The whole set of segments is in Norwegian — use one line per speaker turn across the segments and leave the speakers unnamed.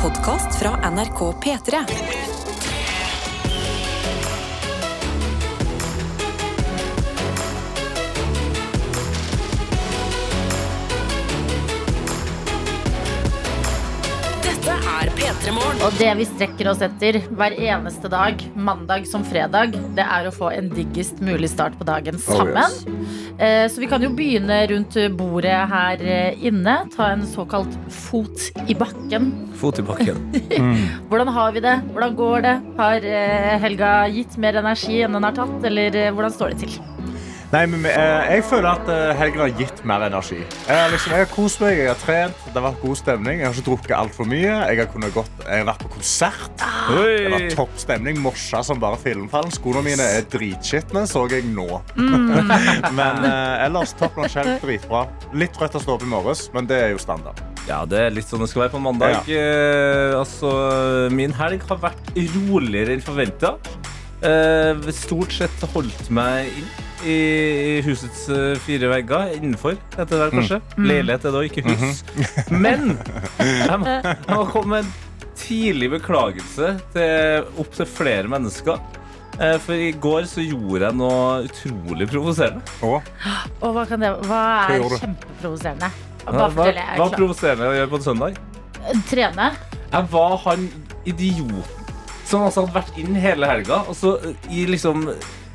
podkast fra NRK P3. Dette er P3 Morgen.
Og det vi strekker oss etter hver eneste dag, mandag som fredag, det er å få en diggest mulig start på dagen sammen.
yes.
Eh, Så vi kan jo begynne rundt bordet her eh, inne. Ta en såkalt fot i bakken.
Fot i bakken.
Hvordan har vi det? Hvordan går det? Har eh, helga gitt mer energi enn den har tatt, eller eh, hvordan står det til?
Nei, men eh, Jeg føler at eh, helgen har gitt mer energi. Jeg har, liksom, jeg har kost meg, jeg har trent, det har vært god stemning. Jeg har ikke drukket altfor mye. Jeg har, kunnet gått, jeg har vært på konsert. Det var topp stemning. Morsa som bare filmfallen. Skoene mine er dritskitne, så jeg nå. men eh, ellers topp notch helg, dritbra. Litt trøtt av å stå opp i morges, men det er jo standard.
Ja, det er litt sånn det skal være på mandag. Eh, altså, min helg har vært roligere enn forventa. Eh, stort sett holdt meg inn i i husets eh, fire vegger. Innenfor, heter det vel kanskje. Leilighet er det òg, ikke hus. Men jeg må, jeg må komme med en tidlig beklagelse til opptil flere mennesker. Eh, For i går så gjorde jeg noe utrolig provoserende.
Og
Og hva, kan det, hva er
Hva gjorde du?
kjempeprovoserende?
Hva,
Bare
hva
fortell, jeg er
er
klar.
provoserende å gjøre på en søndag?
Trene?
Jeg var han idioten som altså hadde vært inn hele helga, og så i liksom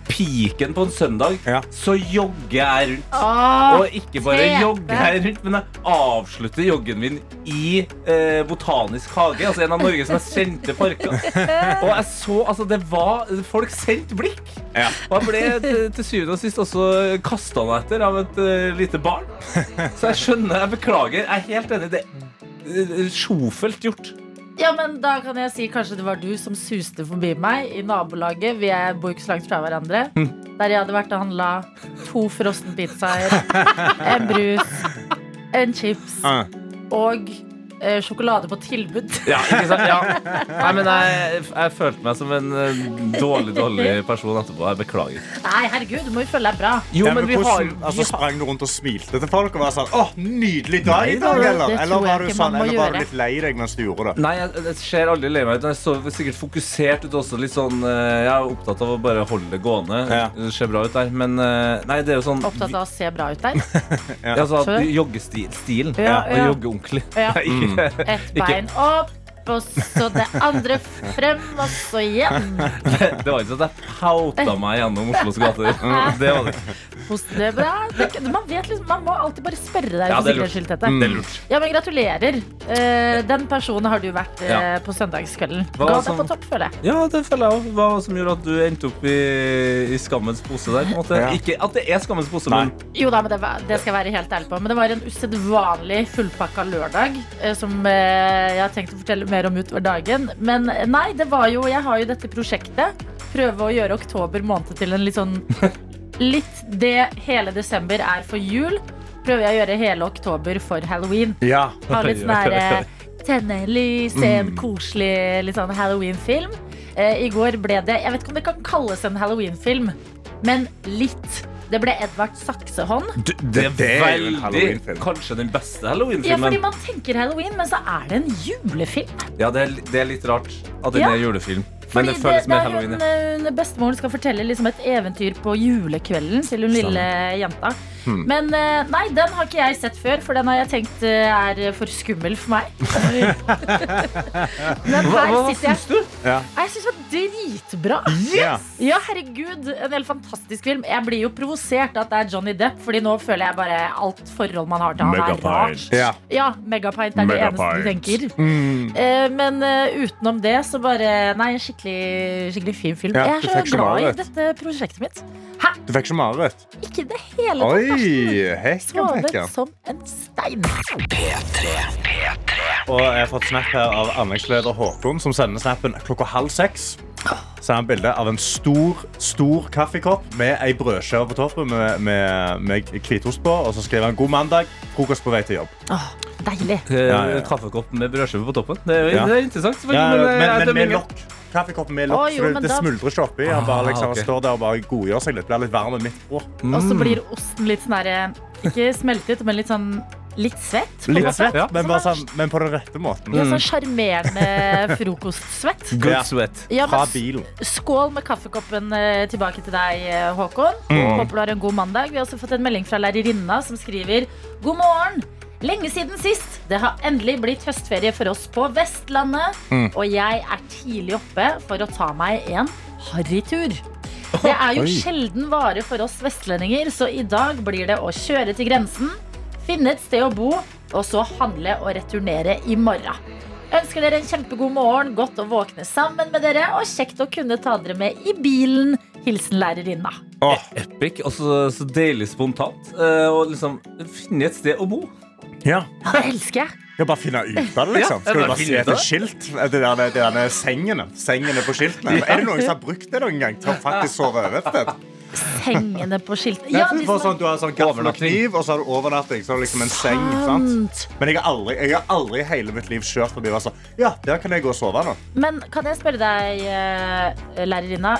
piken på en søndag,
Ja.
så jogger jeg rundt.
Åh,
Og ikke bare
Tete.
jogger jeg rundt, men jeg avslutter joggen min i eh, Botanisk hage, altså en av Norges mest kjente parker. Og jeg så, altså det var folk sendte blikk.
Ja.
Og jeg ble eh, til- til syvende og sist også kasta meg etter av et eh, lite barn. Så jeg skjønner, jeg beklager. Jeg er helt enig. Det er eh, sjofelt gjort.
Ja, men da kan jeg si kanskje det var du som suste forbi meg i nabolaget. Vi er, bor ikke så langt fra hverandre. Der jeg hadde vært og handla to frossenpizzaer, en brus, en chips
Ah.
og eh, sjokolade på tilbud.
Ja, ikke sant? Ja. Nei, men jeg, jeg følte meg som en eh, dårlig, dårlig person etterpå. Jeg beklager.
Nei, herregud, du må jo føle deg bra.
Jo,
Ja,
men
men
vi har,
hvordan, altså,
vi har
Sprang du rundt og smilte til folk og var sånn Åh, nydelig dag i
Nei,
dag,
det-
eller?
det tror
Eller
jeg
var du,
ikke man
sånn,
må
eller var
gjøre.
du litt lei deg mens du gjorde det?
Nei, jeg, jeg ser aldri lei meg ut. Jeg så sikkert fokusert ut også. Litt sånn, eh, jeg er opptatt av å bare holde det gående.
Ja.
Det ser bra ut der. Men eh, nei, det er jo sånn
Opptatt av å se bra ut der.
vi- altså, at
Skjønner.
Joggestilen.
Ja,
Og
ja.
jogge ordentlig.
Ja.
Ikke-
Ett bein opp, og så det andre frem, og så igjen.
Det var ikke sånn at jeg pauta meg gjennom Oslos gater. Det var det.
Post- Det er bra. Det- Man vet liksom, man må alltid bare spørre deg
Ja,
for
det er lurt. Mm.
sikkerhets skyld, Tete.
det er lurt.
Ja, men gratulerer. Eh, den personen har du vært eh,
Ja.
på søndagskvelden.
Hva
Ga
som-
deg på topp, føler jeg.
Ja, det føler jeg òg. Hva var det som gjorde at du endte opp i, i skammens pose der? På en måte?
Ja.
Ikke at det er skammens pose,
Nei.
men
Jo da, men det, var, det skal jeg være helt ærlig på. Men det var en usedvanlig fullpakka lørdag eh, som eh, jeg har tenkt å fortelle mer om utover dagen. Men eh, nei, det var jo Jeg har jo dette prosjektet. Prøve å gjøre oktober måned til en litt sånn Litt det hele desember er for jul, prøver jeg å gjøre hele oktober for halloween.
Ja.
Ha litt sånn
Ja, ja,
her
ja.
eh, Tenne lys, se en koselig litt sånn Halloween-film. Eh, I går ble det Jeg vet ikke om det kan kalles en Halloween-film, men litt. Det ble Edvard Saksehånd.
Det
Det
er
er jo en
veldig
Halloween-film.
Kanskje den beste
Ja,
Halloween-filmen.
fordi man tenker halloween, men så er det en julefilm.
Ja, det, er- det er litt rart at den
Ja.
er julefilm. Men
Fordi
det føles mer
det er
halloween.
hun,
ja.
eh, hun Bestemoren skal fortelle liksom et eventyr på julekvelden til hun lille jenta.
Hmm.
Men eh, nei, den har ikke jeg sett før, for den har jeg tenkt eh, er for skummel for meg. Men
Hva,
her
hva
sitter jeg
syns du?
Ja.
Nei, Jeg syns det var dritbra.
Ja.
Ja, herregud, en helt fantastisk film. Jeg blir jo provosert at det er Johnny Depp, Fordi nå føler jeg bare alt forhold man har til han, er rart.
Ja.
Ja, Megapint er det eneste du tenker.
Mm.
Eh, men eh, utenom det, så bare Nei, en skikkelig, skikkelig fin film.
Ja,
jeg
du
er
fikk
så
så
glad i
mareritt.
dette prosjektet mitt.
Du fikk ikke mareritt?
Ikke i det hele tatt. Karsten.
Oi! Hekken fikk
Sovet
han.
som en stein.
Og jeg har fått snap her av anleggsleder Håkon, som sender snappen klokka halv seks. Så har han bilde av en stor stor kaffekopp med ei brødskive på toppen med, med, med hvitost på. Og så skriver han 'God mandag, frokost på vei til jobb'.
Åh, deilig.
Ja, ja.
Kaffekopp med brødskive på toppen. Det er,
Ja.
det er interessant. selvfølgelig,
Ja,
men, eh, jeg
men, men
dømmer
med
ingen.
lokk. Kaffekoppen med lokk,
Å, jo,
så det,
men
det
da-
smuldrer ikke oppi. Han bare liksom
Ah, ok.
står der og bare godgjør seg litt. Blir litt varm i midt på.
Og så blir osten litt sånn herre Ikke eh, smeltet, men litt sånn litt svett. på en
Litt
måte.
svett,
Ja.
men, bare sånn, men på den rette måten. Mm.
Ja, sånn sjarmerende frokostsvett.
Good
Ja.
sweat.
Ja,
Fra
men
bilen.
Skål med kaffekoppen eh, tilbake til deg, eh, Håkon. Håper du har en god mandag. Vi har også fått en melding fra lærerinna som skriver God morgen! Lenge siden sist. Det har endelig blitt høstferie for oss på Vestlandet.
Mm.
Og jeg er tidlig oppe for å ta meg en harrytur. Det er jo
Oi.
sjelden vare for oss vestlendinger, så i dag blir det å kjøre til grensen, finne et sted å bo, og så handle og returnere i morgen. Ønsker dere en kjempegod morgen, godt å våkne sammen med dere, og kjekt å kunne ta dere med i bilen. Hilsen lærerinna.
Åh,
Epic. Og så, så deilig spontant. eh, og liksom finne et sted å bo.
ja.
Ja, det elsker jeg.
Ja, bare finne ut av det,
Ja,
liksom. Skal
bare
du bare se
finne ut av
etter
det.
skilt? Eh, Det der, det der med sengene. Sengene på skiltene. Er det noen som har brukt det noen gang til å faktisk sove over et sted?
Hengende på skiltet.
Ja,
Ja, de
for
som
sånn,
er
du har sånn gaffel og
Overnatting.
kniv, og så har du overnatting. Så har du liksom en seng. sant?
Sant.
Men jeg har aldri, jeg har aldri i hele mitt liv kjørt forbi og vært sånn Ja, der kan jeg gå og sove nå.
Men kan jeg spørre deg, eh, lærerinna,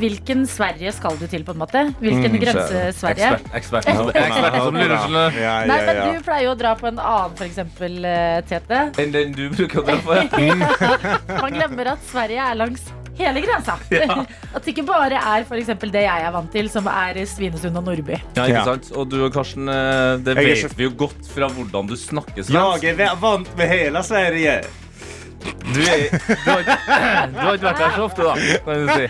hvilken Sverige skal du til, på en måte?
Mm,
Hvilken grense Sverige?
Ekspert, ekspert, ekspert som lurer seg
Ja, sånn ja,
Nei, men
ja.
du pleier jo å dra på en annen, for eksempel, eh, Tete.
enn den du bruker å dra på. Ja.
Man glemmer at Sverige er langs hele grensa. At det ikke bare er for eksempel det jeg er vant til, som er Svinesund og Nordby.
Ja, ikke
Ja.
sant? Og du og Karsten, eh, det
Jeg er
vet
ikke-
vi jo godt fra hvordan du snakker
Jeg
svensk.
er væ- vant med hele Sverige.
Du, er, du, har, ikke- du har ikke vært der så ofte, da. Kan du si.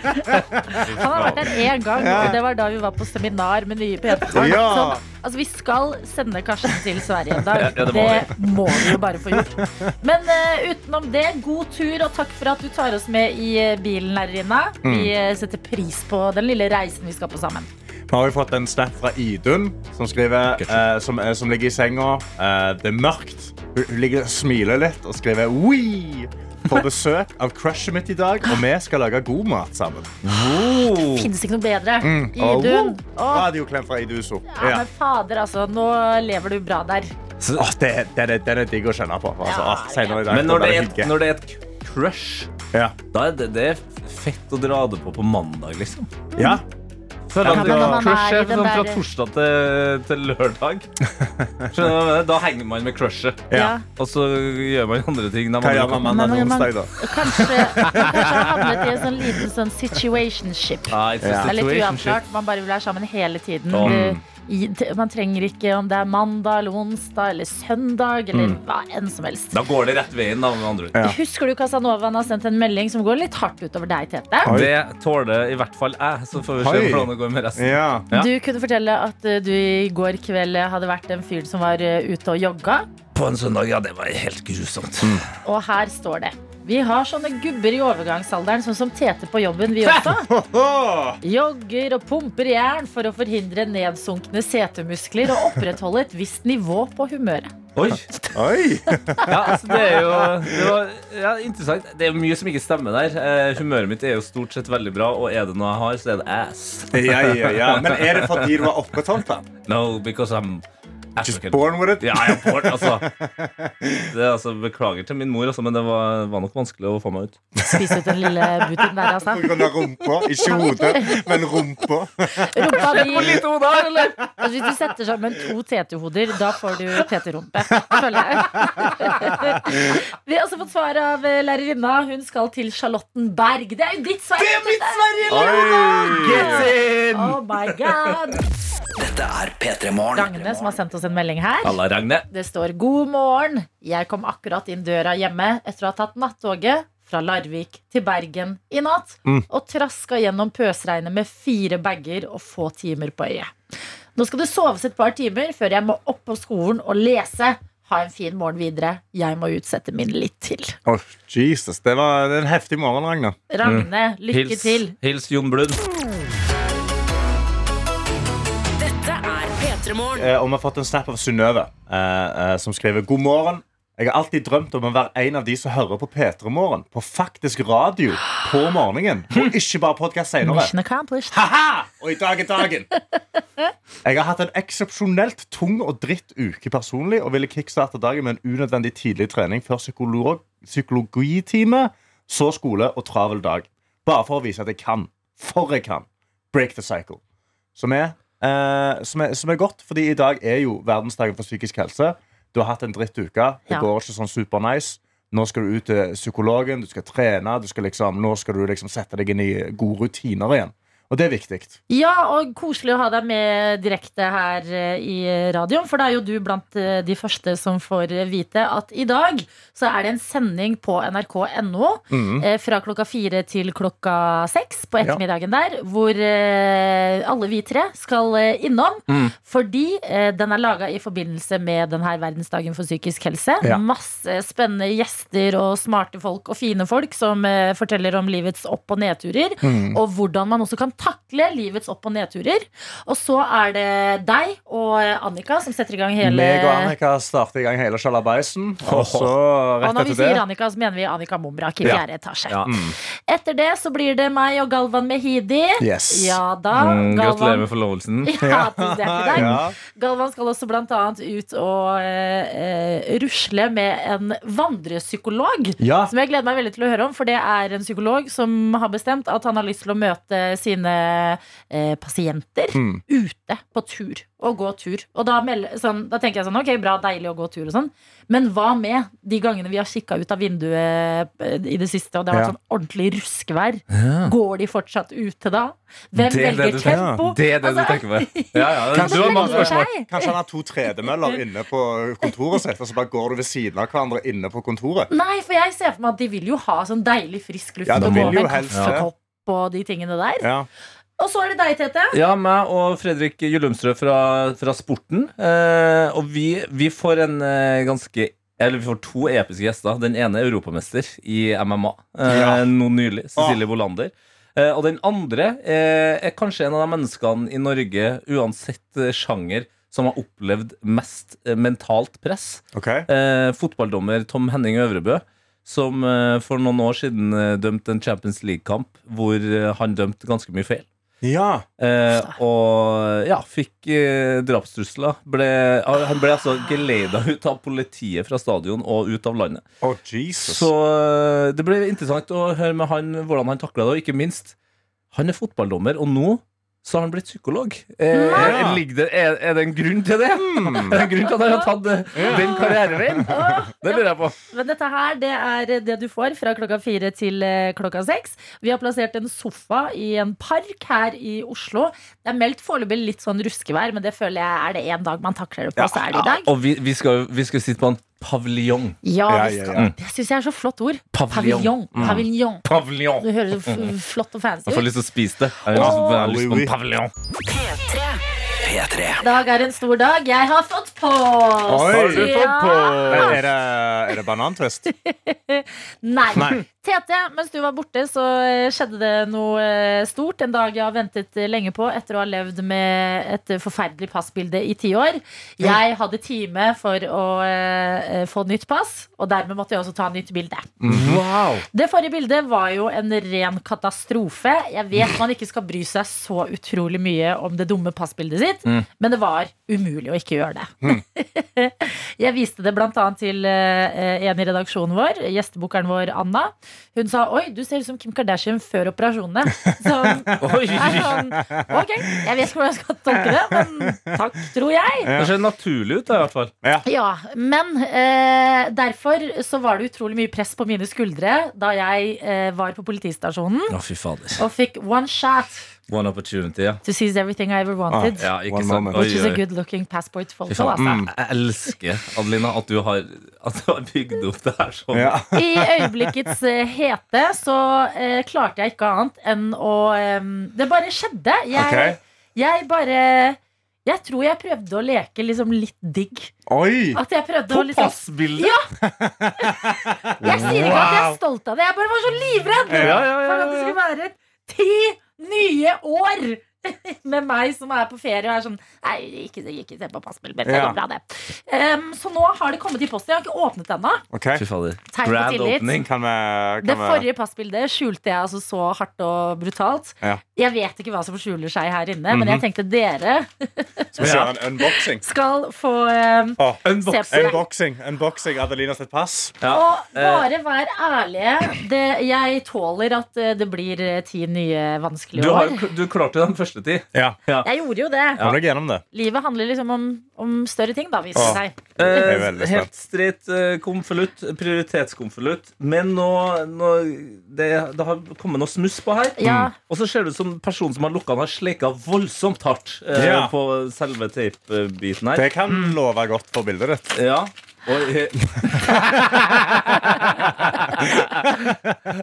Han har vært der én gang,
Ja.
og det var da vi var på seminar med nye P3-folk.
Ja.
Sånn, altså, vi skal sende Karsten til Sverige en dag.
Ja, det må
det må vi jo bare få gjort. Men eh, utenom det, god tur, og takk for at du tar oss med i eh, bilen, lærerinna. Vi
Mm.
eh, setter pris på den lille reisen vi skal på sammen.
Vi har jo fått en snap fra Idun, som, skriver, eh, som, eh, som ligger i senga. Eh, det er mørkt. Hun, hun ligger og smiler litt og skriver «Wii!» På besøk av crushet mitt i dag, og vi skal lage god mat sammen.
Fins ikke noe bedre.
Oh. Mm. Au.
Idun. Å,
Radioklem fra Iduso.
ja,
Ja.
men fader, altså. Nå lever du bra der.
Åh, det, den er- den er digg å kjenne på. Altså,
Ja,
åh, senere i dag
Men når det,
blir
er,
hygge.
et- når det er et crush,
ja.
da er det, det er fett å dra det på på mandag, liksom.
ja.
Føler
Ja,
at det
men når man
crush
er i
er
den
sånn fra
der-
torsdag til, til lørdag. Skjønner du hva jeg mener? Da henger man med crushet.
Ja.
Og så gjør man andre ting. når
Hva gjør man
man
mandag til
Men- men-
onsdag, da?
Kanskje, kanskje har havnet i en sånn liten sånn situationship.
Ah, it's a
Ja.
Det er litt
situationship.
uavklart. Man bare vil være sammen hele tiden.
Ja.
Du- i- t- Man trenger ikke om det er mandag eller onsdag eller søndag eller hva enn som helst.
Da går det rett veien, da, med andre ord.
Ja.
Husker du Casanovaen har sendt en melding som går litt hardt utover deg, Tete?
Oi.
Det tåler i hvert fall jeg, så får vi se
Oi.
hvordan det går med resten.
Ja.
Ja.
Du kunne fortelle at eh, du i går kveld eh, hadde vært en fyr som var eh, ute og jogga,
På en søndag, ja, det var helt grusomt.
og her står det. Vi har sånne gubber i overgangsalderen, sånn som Tete på jobben, vi også.
Åh,
Jogger og pumper jern for å forhindre nedsunkne setemuskler og opprettholde et visst nivå på humøret.
Oi!
Oi!
Ja, altså, det er jo det var, ja, interessant. Det er jo mye som ikke stemmer der. Eh, humøret mitt er jo stort sett veldig bra, og er det noe jeg har, så er det ass.
Ja, ja, ja. Men er det fordi du har opprettholdt den?
No, because I'm African.
Born with it?
Ja, jeg er born, altså. Det er, altså. Beklager til min mor, altså, men det var, var nok vanskelig å få meg ut.
Spis ut den lille buten der, altså.
På grunn av rumpa. Ikke hodet, men rumpa.
Rumpa di altså, Hvis du setter sammen to tetehoder, da får du teterumpe. Føler jeg. Vi har også fått svar av eh, lærerinna. Hun skal til Charlottenberg. Det er jo ditt svar!
Oi!
Oh my god!
Dette er P3 Morgen.
Ragne som har sendt oss en melding her.
Halla, Ragne.
Det står 'God morgen'. Jeg kom akkurat inn døra hjemme etter å ha tatt nattoget fra Larvik til Bergen i natt og traska gjennom pøsregnet med fire bager og få timer på øyet. Nå skal det soves et par timer før jeg må opp på skolen og lese. Ha en fin morgen videre. Jeg må utsette min litt til.
Åh, Jesus, det var det er en heftig morgen, Ragnar.
Ragne, lykke
Hils,
til.
hils Jon Blund.
Dette er P3 Morgen.
Eh, og vi har fått en snap av Synnøve, eh, eh, som skriver God morgen. Jeg har alltid drømt om å være en av de som hører på P3 Morgen. På faktisk radio på morgenen. Og ikke bare podkast senere.
Mission accomplished.
Ha-ha! Og i dag er dagen. Jeg har hatt en eksepsjonelt tung og dritt uke personlig og ville kickstarte dagen med en unødvendig tidlig trening før psykolog psykologitime, så skole og travel dag. Bare for å vise at jeg kan. For jeg kan. Break the cycle. Som er, eh, som er, som er godt, fordi i dag er jo verdensdagen for psykisk helse. Du har hatt en drittuke. Det
Ja.
går ikke sånn supernice. Nå skal du ut til psykologen, du skal trene, du skal liksom, nå skal du liksom sette deg inn i gode rutiner igjen. Og det er viktig.
Ja, og koselig å ha deg med direkte her eh, i radioen. For da er jo du blant eh, de første som får vite at i dag så er det en sending på nrk.no
Mm.
eh, fra klokka fire til klokka seks på ettermiddagen der, hvor eh, alle vi tre skal eh, innom.
Mm.
Fordi eh, den er laga i forbindelse med den her verdensdagen for psykisk helse.
Ja.
Masse spennende gjester og smarte folk og fine folk som eh, forteller om livets opp- og nedturer.
Mm.
Og hvordan man også kan takle livets opp- og nedturer. Og så er det deg og eh, Annika som setter i gang hele
Meg og Annika starter i gang hele sjalabaisen. Og så
og
rett
når vi
etter det
sier Annika, så mener vi Annika Momrak i
Ja.
fjerde etasje.
Ja.
Etter det så blir det meg og Galvan Mehidi.
Yes.
Ja da.
Mm, gratulerer
Ah, Galvan.
med forlovelsen.
Ja, tusen hjertelig takk.
Ja.
Galvan skal også blant annet ut og eh, eh, rusle med en vandrepsykolog.
Ja.
Som jeg gleder meg veldig til å høre om, for det er en psykolog som har bestemt at han har lyst til å møte sine eh, pasienter
Mm.
ute på tur. Og gå tur. Og da, meld, sånn, da tenker jeg sånn, ok, bra, deilig å gå tur og sånn. Men hva med de gangene vi har kikka ut av vinduet eh, i det siste, og det har vært
Ja.
sånn ordentlig ruskevær? Går de fortsatt ute da? Hvem
Det er det
velger
du tenker-
tempo? Altså,
Det er det du tenker på. Ja, ja,
Kanskje
du har mange
velger
spørsmål.
seg?
Kanskje han har to tredemøller inne på kontoret sitt, og så bare går du ved siden av hverandre inne på kontoret.
Nei, for jeg ser for meg at de vil jo ha sånn deilig frisk luft
Ja, de
og gå
vil
med
jo
en
helst det.
kaffekopp og de tingene der.
Ja.
Og så er det deg, Tete.
Ja, meg og Fredrik Jullumstrø fra, fra Sporten. Eh, og vi, vi får en eh, ganske Eller vi får to episke gjester. Den ene er europamester i MMA eh,
Ja.
nå nylig. Cecilie Bolander. Eh, og den andre eh, er kanskje en av de menneskene i Norge, uansett eh, sjanger, som har opplevd mest eh, mentalt press
Ok.
eh, fotballdommer Tom Henning Øvrebø, som eh, for noen år siden eh, dømte en Champions League-kamp hvor eh, han dømte ganske mye feil.
Ja.
Eh, og ja, fikk eh, drapstrusler. Ble, han ble altså geleida ut av politiet fra stadion og ut av landet.
Oh, Jesus.
Så eh, det ble interessant å høre med han hvordan han takla det, og ikke minst Han er fotballdommer, og nå så har han blitt psykolog. Eh,
Ja.
ligger det, er, er det en grunn til det?
Mm.
Er det en grunn til at han har tatt eh, den karriereveien?
Åh,
Det lurer jeg på.
Men dette her, det er det du får fra klokka fire til eh, klokka seks. Vi har plassert en sofa i en park her i Oslo. Det er meldt foreløpig litt sånn ruskevær, men det føler jeg er det én dag man takler det på, så er det i dag.
Og vi, vi, skal, vi skal sitte på en paviljong.
Ja,
Ja,
vi
ja,
skal.
ja.
Det syns jeg er så flott ord.
Paviljong.
Paviljong.
Mm.
Paviljong.
Paviljong!
Du høres så f- flott og fancy
Jeg får
ut.
lyst til å spise det. Jeg har lyst, jeg har lyst på en paviljong.
P3.
I dag er en stor dag. Jeg har fått pås!
Oi. Har du
fått
Men
Ja.
er det, er det banantvist?
Nei.
Nei.
Tete, mens du var borte, så eh, skjedde det noe eh, stort. En dag jeg har ventet eh, lenge på etter å ha levd med et eh, forferdelig passbilde i ti år. Jeg hadde time for å eh, eh, få nytt pass, og dermed måtte jeg også ta nytt bilde.
Wow.
Det forrige bildet var jo en ren katastrofe. Jeg vet man ikke skal bry seg så utrolig mye om det dumme passbildet sitt, men det var umulig å ikke gjøre det. jeg viste det bl.a. til eh, en i redaksjonen vår, gjestebokeren vår Anna. Hun sa 'oi, du ser ut som Kim Kardashian før operasjonene'. Sånn,
Oi.
det er sånn, ok, jeg vet ikke hvordan jeg skal tolke det, men takk, tror jeg.
Det ser naturlig ut, da, i hvert fall.
Ja, men eh, derfor så var det utrolig mye press på mine skuldre da jeg eh, var på politistasjonen
Å, fy fader.
og fikk one shot
One opportunity, ja.
to seize everything I ever wanted.
Ah, ja ikke
One
sant?
moment.
Oi,
Which is a
oi.
good looking passport
Fy
photo, altså.
faen. Mm. Jeg elsker, Adelina, at du har, at du har bygd opp det her sånn.
Ja.
I øyeblikkets eh, hete så eh, klarte jeg ikke annet enn å eh, Det bare skjedde. Jeg,
Ok.
jeg bare Jeg tror jeg prøvde å leke liksom litt digg.
Oi!
At jeg prøvde å
På
liksom
passbildet!
Jeg sier ikke at jeg er stolt av det. Jeg bare var så livredd
Ja, ja, ja,
for at det
ja,
skulle være ti nye år med meg som er på ferie og er sånn Nei, ikke, ikke se på passbildet. Det
Ja.
går bra, det. Em, så nå har det kommet i posten. Jeg har ikke åpnet det ennå.
Ok,
Fy fader.
Tegn på
Grand
tillit.
opening.
Kan vi,
Det
kan vi
forrige passbildet skjulte jeg altså så hardt og brutalt.
Ja.
Jeg vet ikke hva som skjuler seg her inne, men
Mhm.
jeg tenkte dere
Skal vi kjøre en unboxing?
skal få em,
Åh,
se
Unbox.
på det.
unboxing. Unboxing Adelina sitt pass.
Ja.
Og bare vær ærlige. Det, jeg tåler at eh, det blir eh, ti nye
Du,
vanskelige
har,
år.
du klarte den rusletid.
Ja.
Ja.
Jeg gjorde jo det.
Kom deg gjennom det.
Livet handler liksom om, om større ting, da, viser
Åh.
det seg.
Jeg er veldig
Eh,
spent.
helt streit eh, konvolutt. Prioritetskonvolutt. Men nå, nå det, det har kommet noe smuss på her.
Ja.
Mm.
Og så ser det ut som personen som har lukka den, har sleika voldsomt hardt eh,
Ja.
på selve teipbiten her.
Det kan
Hmm.
love godt for bildet ditt.
Ja. Og, eh,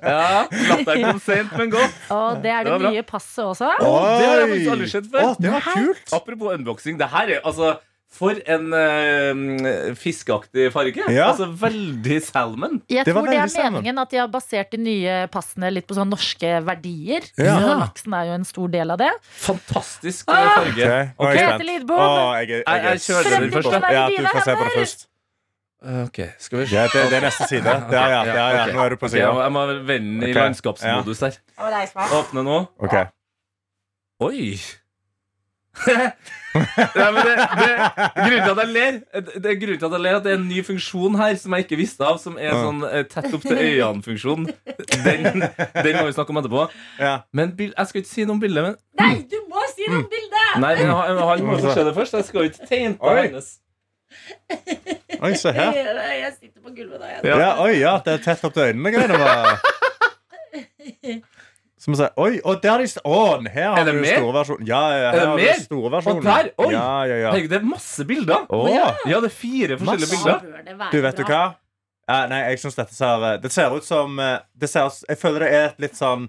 ja. Latteren kom sent, men godt.
Og det er
Det var
det,
bra.
nye passet også.
det har jeg faktisk aldri sett før.
Å, det var kult.
Apropos unboxing, det her er altså for en eh, fiskeaktig farge.
Ja.
Altså veldig salmon.
Jeg
Det var
tror det er
veldig sammen.
meningen at de har basert de nye passene litt på sånne norske verdier.
Ja.
Så laksen er jo en stor del av det.
Fantastisk eh, farge.
Ah! Ok, nå er jeg
Peter
spent.
Lidbom.
Å, jeg, er-
Jeg-
jeg, er
jeg kjører den
superspent.
først,
da.
Ja, du får se på det først.
Eh, Ok, skal vi se.
Ja, det, det er neste side. Ja, ja, ja, ja.
ok.
Nå er du på
Ok, jeg må-
sida.
jeg må vende i
Ok,
landskapsmodus her. Åpne nå.
Ok.
Oi! Nei, men det, det, grunnen til at jeg ler, det, det er grunnen til at jeg ler at det er en ny funksjon her som jeg ikke visste av, som er
Ja.
sånn eh, tett opp til øynene-funksjon. Den, den må vi snakke om etterpå.
Ja.
Men bil, jeg skal ikke si noe om bildet, men
Nei, du må si noe om bildet!
Nei, men han, han må få se det først. Jeg skal jo ikke tegne på
Oi.
hennes.
Oi, se her.
Jeg, jeg sitter på gulvet da. Jeg.
Ja.
Ja, oi, ja, det er tett opp til øynene greiene bare. Som å si, oi, og der er de st- Å, her
Er
har
det
du den
mer?
store versjonen Ja, ja, her
det
har du
mer?
den store versjonen
Og der, oi!
Ja, ja, ja
Herregud, det er masse bilder.
Å,
Ja, det er fire forskjellige
Masse.
bilder.
du vet du hva? Ja, nei, jeg synes dette ser Det ser ut som eh, det ser, ut- Jeg føler det er et litt sånn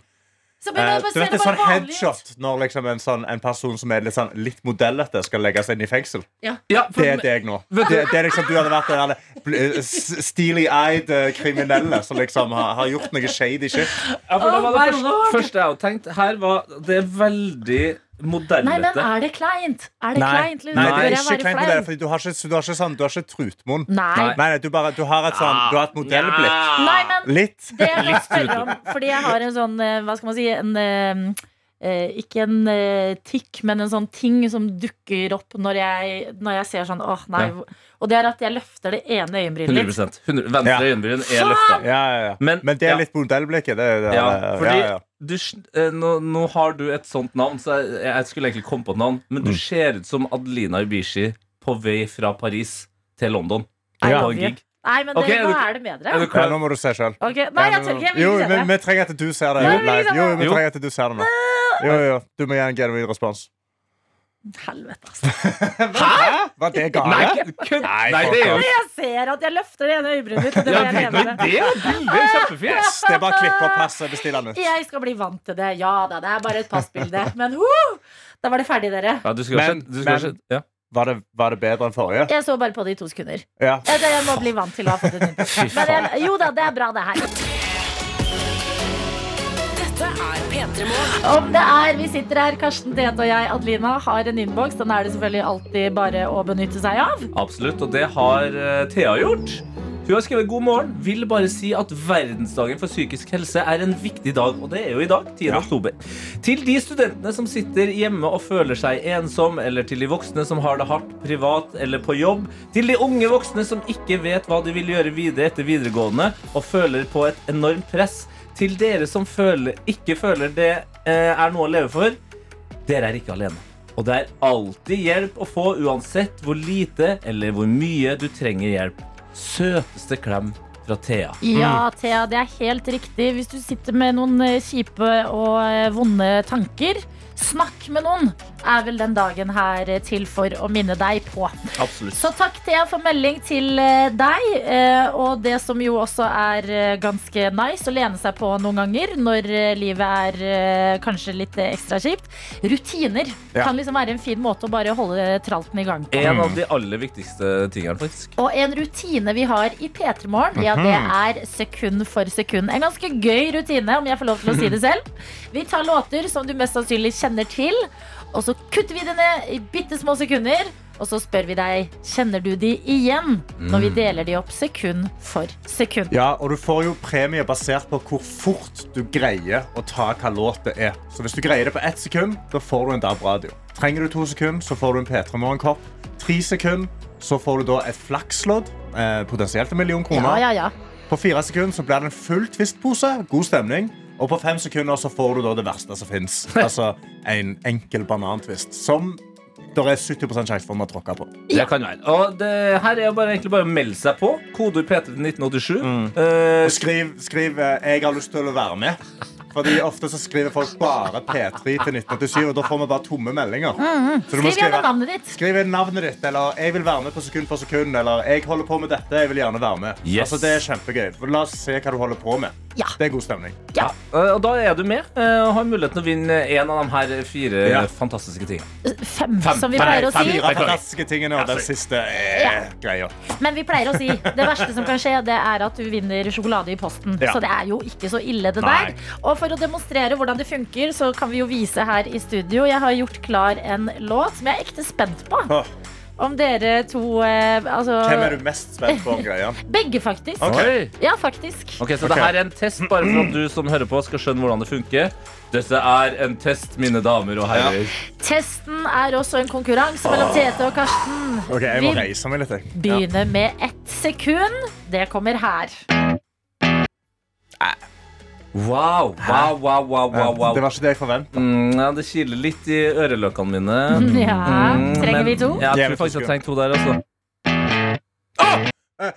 Så
eh,
begynner jeg
Du
bare å
vet,
se
det
det
er
bare
sånn
vanlig ut.
headshot Når liksom en, sånn, en person som er litt, sånn, litt modellete Skal legge seg inn i fengsel
Ja, for,
Det er deg nå
Vet du-
det, det er liksom du hadde vært den der, eh, s- Steely-eyed eh, kriminelle Som liksom har, har gjort noe shady shit
ja, for det var
Oh
det
my
første,
lord.
første jeg hadde tenkt. Her var Det er veldig
Nei, men ah.
modellete.
er det kleint? Er det kleint? Lund?
nei,
Bør
det er
jeg
ikke
være
kleint
flau?
modell, fordi du har ikke, du har ikke, sånn, du har ikke trutmunn.
Nei.
Nei, nei, du, bare, du har et sånn Du har et modellblikk.
Nei, men
Litt.
det jeg bare spør om Fordi jeg har en sånn, eh, hva skal man si en, eh, eh, Ikke en eh, tikk, men en sånn ting som dukker opp når jeg, når jeg ser sånn åh, nei.
Ja.
hvor-" Og det er at jeg løfter det ene øyenbrynet litt.
100 100 Venstre
Ja.
øyenbryn er løfta.
Ja, ja, ja.
Men-
Men det er
ja.
litt modellblikket. Det, det,
Ja,
det-
fordi
ja, ja.
Du, sn- eh, nå, nå har du et sånt navn, så jeg, jeg skulle egentlig komme på et navn, men du ser ut som Adelina Ibishi på vei fra Paris til London.
Nei,
På en
jeg-
gig.
Nei, men det,
Ok, er
nå
du-
er det bedre.
Er
ja,
du klar?
nå må du se sjøl.
Ok, Nei, jeg tør ikke. Jeg vil
Jo,
ikke se det.
men vi trenger at du ser
Nei,
det
jeg vil ikke
live.
se
Jo, vi
det.
trenger at du ser det nå. Jo, jo, Du må gi en genuin respons.
Helvete, altså.
Hæ? Var det
Nei,
gale?
kødd!
Nei,
Nei, det er jo
Jeg ser at jeg løfter det ene øyenbrynet mitt. Og det
ja,
var jeg
det,
det
men
ene.
det er bildet er kjempefint!
Yes, det er bare å klippe og passe og bestille den ut.
Jeg skal bli vant til det. Ja da, det er bare et passbilde. Men huh, da var det ferdig, dere.
Ja, du skulle ha
Men-
skjønt. Du skulle ha
men-
skjønt. Ja.
Var det, var det bedre enn forrige?
Jeg så bare på det i to sekunder.
Ja.
Jeg, jeg må bli vant til å ha fått et nytt. Men jeg, jo da, det er bra, det her.
Dette er P3 Morgen.
Om det er vi sitter her, Karsten Tete og jeg, Adelina, har en innboks. Den er det selvfølgelig alltid bare å benytte seg av.
Absolutt, og det har eh, Thea gjort. Hun har skrevet 'God morgen'. Vil bare si at verdensdagen for psykisk helse er en viktig dag, og det er jo i dag. 10. oktober. Til de studentene som sitter hjemme og føler seg ensom, eller til de voksne som har det hardt privat eller på jobb, til de unge voksne som ikke vet hva de vil gjøre videre etter videregående, og føler på et enormt press, til dere som føler, ikke føler det eh, er noe å leve for, dere er ikke alene. Og det er alltid hjelp å få uansett hvor lite eller hvor mye du trenger hjelp. Søteste klem fra Thea.
Ja, Thea, det er helt riktig. Hvis du sitter med noen eh, kjipe og eh, vonde tanker, snakk med noen, er vel den dagen her eh, til for å minne deg på.
Absolutt.
Så takk, Thea, for melding til eh, deg. Eh, Og det som jo også er eh, ganske nice å lene seg på noen ganger når eh, livet er eh, kanskje litt eh, ekstra kjipt. Rutiner
Ja.
kan liksom være en fin måte å bare holde tralten i gang på.
En av de aller viktigste tingene, faktisk.
Og en rutine vi har i P3 Morgen, ja,
Mhm.
det er sekund for sekund. En ganske gøy rutine, om jeg får lov til å si det selv. Vi tar låter som du mest sannsynlig kjenner til, og så kutter vi det ned i bitte små sekunder. Og så spør vi deg kjenner du de igjen, når
Mm.
vi deler de opp sekund for sekund.
Ja, og du får jo premie basert på hvor fort du greier å ta hva låt det er. Så hvis du greier det på ett sekund, da får du en DAB-radio. Trenger du to sekunder, så får du en P3 Morgenkopp. Tre sekunder, så får du da et flakslodd, eh, potensielt en million
Ja,
kroner.
ja, ja.
På fire sekunder så blir det en full Twist-pose, god stemning. Og på fem sekunder så får du da det verste som fins. Altså en enkel banantvist. Som det er 70 sjanse for at man tråkker på.
Det kan være. Og det her er jo bare, egentlig bare å melde seg på. Kodeord P3 til 1987. Eh,
Og skriv, skriv eh, 'Jeg har lyst til å være med'. Fordi Ofte så skriver folk bare P3 til 1987, og da får vi bare tomme meldinger. Så du
Mhm.
må
Skriv gjerne
skrive-
navnet ditt.
Skriv inn navnet ditt, eller 'jeg vil være med på sekund for sekund', eller 'jeg holder på med dette, jeg vil gjerne være med'.
Yes.
Altså, det er kjempegøy. La oss se hva du holder på med.
Ja.
Det er god stemning.
eh, og da er du med eh, og har muligheten til å vinne en av de her fire
Ja.
fantastiske tingene.
Fem,
Fem.
som vi
Fem.
pleier å
Fem.
si.
Fire fantastiske tingene og den
sorry.
siste eh, greia.
Men vi pleier å si det verste som kan skje, det er at du vinner sjokolade i posten.
Ja.
Så det er jo ikke så ille, det
Nei.
der. Og for å demonstrere hvordan det funker, så kan vi jo vise her i studio. Jeg har gjort klar en låt som jeg er ekte spent på.
Åh,
Om dere to eh, Altså
Hvem er du mest spent på? greia?
begge, faktisk.
Ok.
Oi.
Ja, faktisk.
Ok, Så
Ok.
det her er en test bare for at du som hører på, skal skjønne hvordan det funker. Dette er en test, mine damer og herrer.
Testen er også en konkurranse mellom Tete og Karsten.
Ok, Jeg må
Vi
reise meg litt. jeg.
begynner med ett sekund. Det kommer her.
Wow, wow, wow, wow, wow, wow.
Eh, Det var ikke det jeg forventa.
Mm, ja, det kiler litt i øreløkkene mine.
Ja,
Mm,
trenger
men-
vi to?
Ja, jeg
Jævlig
tror faktisk jeg
skummelt.
trenger to der, altså.
Eh,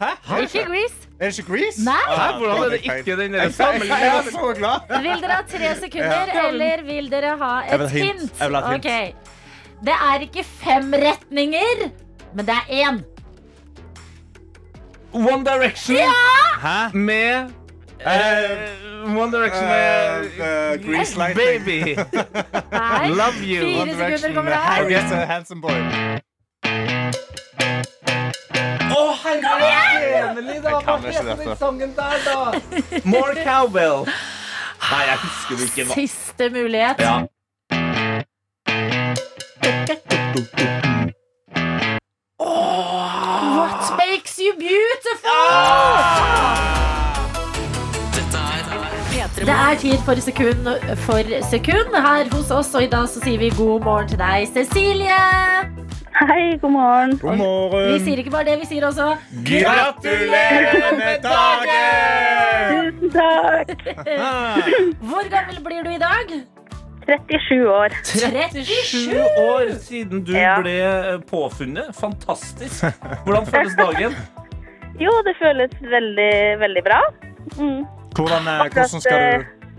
Eh,
Nei,
Hæ?
ikke Grease.
eh, Er det ikke Grease?
Nei.
Ah,
Hvordan er det Eh,
feil.
ikke den
Jeg
der
er så- jeg er så glad.
Vil dere ha tre sekunder, eller vil dere ha
Jeg
et
vil ha et hint.
hint?
Jeg vil ha et hint.
Ok. Det er ikke fem retninger, men det er én.
One Direction
Hæ?
med
Eh,
eh, One Direction
Eh, eh,
med
Grease Lightning.
Baby.
Nei.
Love you.
Fire
One
sekunder
Direction
kommer
med
det her.
Harry is a handsome boy.
Å,
altså.
herregud! Emily, da,
Jeg
Hva
kan ikke altså.
heter den
dette.
sangen der, da? More Cowbell. Nei, jeg husker det ikke. hva-
Siste mulighet.
Ja.
What makes you beautiful?
P3
Det er tid for sekund for sekund her hos oss, og i dag så sier vi god morgen til deg, Cecilie.
Hei, god morgen.
God
Vi
morgen.
sier ikke bare det, vi sier også
Gratulerer med dagen!
Tusen takk.
Ah.
Hvor gammel blir du i dag?
37 år.
37.
Sju år siden du
Ja.
ble eh, påfunnet. Fantastisk. Hvordan føles dagen?
Jo, det føles veldig, veldig bra. Mm.
Hvordan, eh, hvordan skal du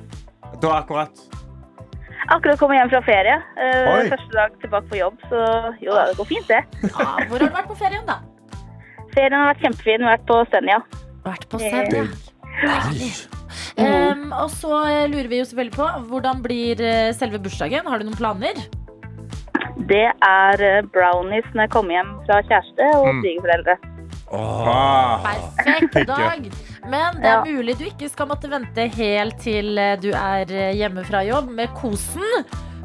Da akkurat.
Akkurat kommet hjem fra ferie. Eh,
Oi.
første dag tilbake på jobb, så jo da, det går fint, det.
Ja, hvor har du vært på ferien, da?
Ferien har vært kjempefin. Vi har vært på Senja.
Vært på scenen, ja. Ehm, og så eh, lurer vi jo selvfølgelig på hvordan blir eh, selve bursdagen. Har du noen planer?
Det er eh, brownies når jeg kommer hjem fra kjæreste og
Mm.
svigerforeldre.
Ah.
Perfekt
Ikke.
dag. Men det
Ja.
er mulig du ikke skal måtte vente helt til eh, du er eh, hjemme fra jobb med kosen.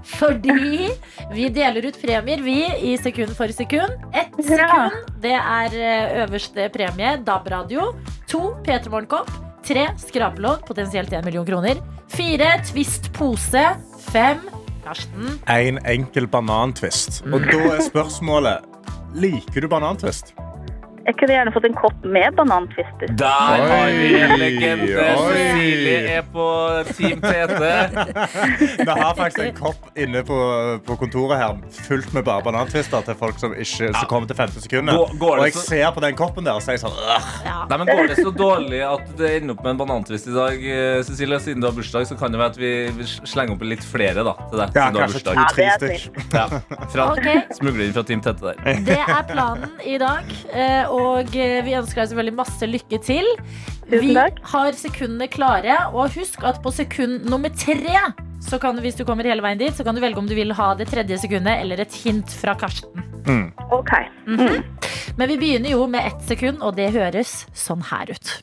Fordi vi deler ut premier, vi, i sekund for sekund. Ett
Bra.
sekund, det er eh, øverste premie. DAB-radio. To P3 Morgenkopp. Tre skrapelodd, potensielt én million kroner. Fire Twist pose. Fem Karsten.
Ah. En enkel banantvist. Og da er spørsmålet Liker du banantvist?
Jeg kunne gjerne fått en kopp med banantwister.
Der har vi en legende.
Oi.
Cecilie er på Team PT.
Vi har faktisk en kopp inne på, på kontoret her fullt med bare banantvister til folk som, ikke, som kommer til femte sekundet.
Går- går det
Og jeg
så-
ser på den koppen der og sier sånn «Åh,
Ja.
Nei, men Går det så dårlig at det ender opp med en banantvist i dag? eh, Cecilie, Siden du har bursdag, så kan det være at vi vi slenger opp litt flere da, til deg.
Ja,
siden du har
kanskje
bursdag.
Ja,
to-tre
det er
stykk.
Ja, fra,
Ok.
Smugler inn fra Team Tette der.
Det er planen i dag, eh, og eh, vi ønsker deg selvfølgelig masse lykke til.
Tusen
Vi
takk.
har sekundene klare, og husk at på sekund nummer tre så kan du, hvis du kommer hele veien dit, så kan du velge om du vil ha det tredje sekundet eller et hint fra Karsten.
OK.
Men vi begynner jo med ett sekund, og det høres sånn her ut.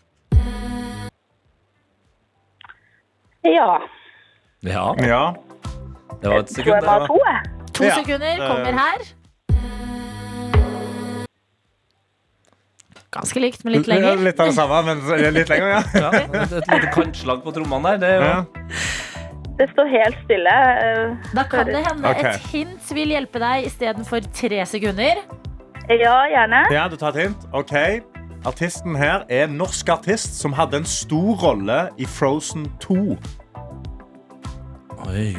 Ja.
Ja,
Ja.
det var et
Tror
sekund.
jeg må
der,
ha
da.
to, jeg.
To
Ja.
sekunder
Eh.
kommer her. Ganske likt, men litt lenger.
Litt av det samme, men litt lenger, ja.
Ja, et et lite kantslag på trommene der. Det er jo
Ja.
Det står helt stille. Eh,
Da kan det hende
Ok.
et hint vil hjelpe deg istedenfor tre sekunder.
Ja, gjerne.
Ja, du tar et hint. OK. Artisten her er en norsk artist som hadde en stor rolle i Frozen 2.
Oi,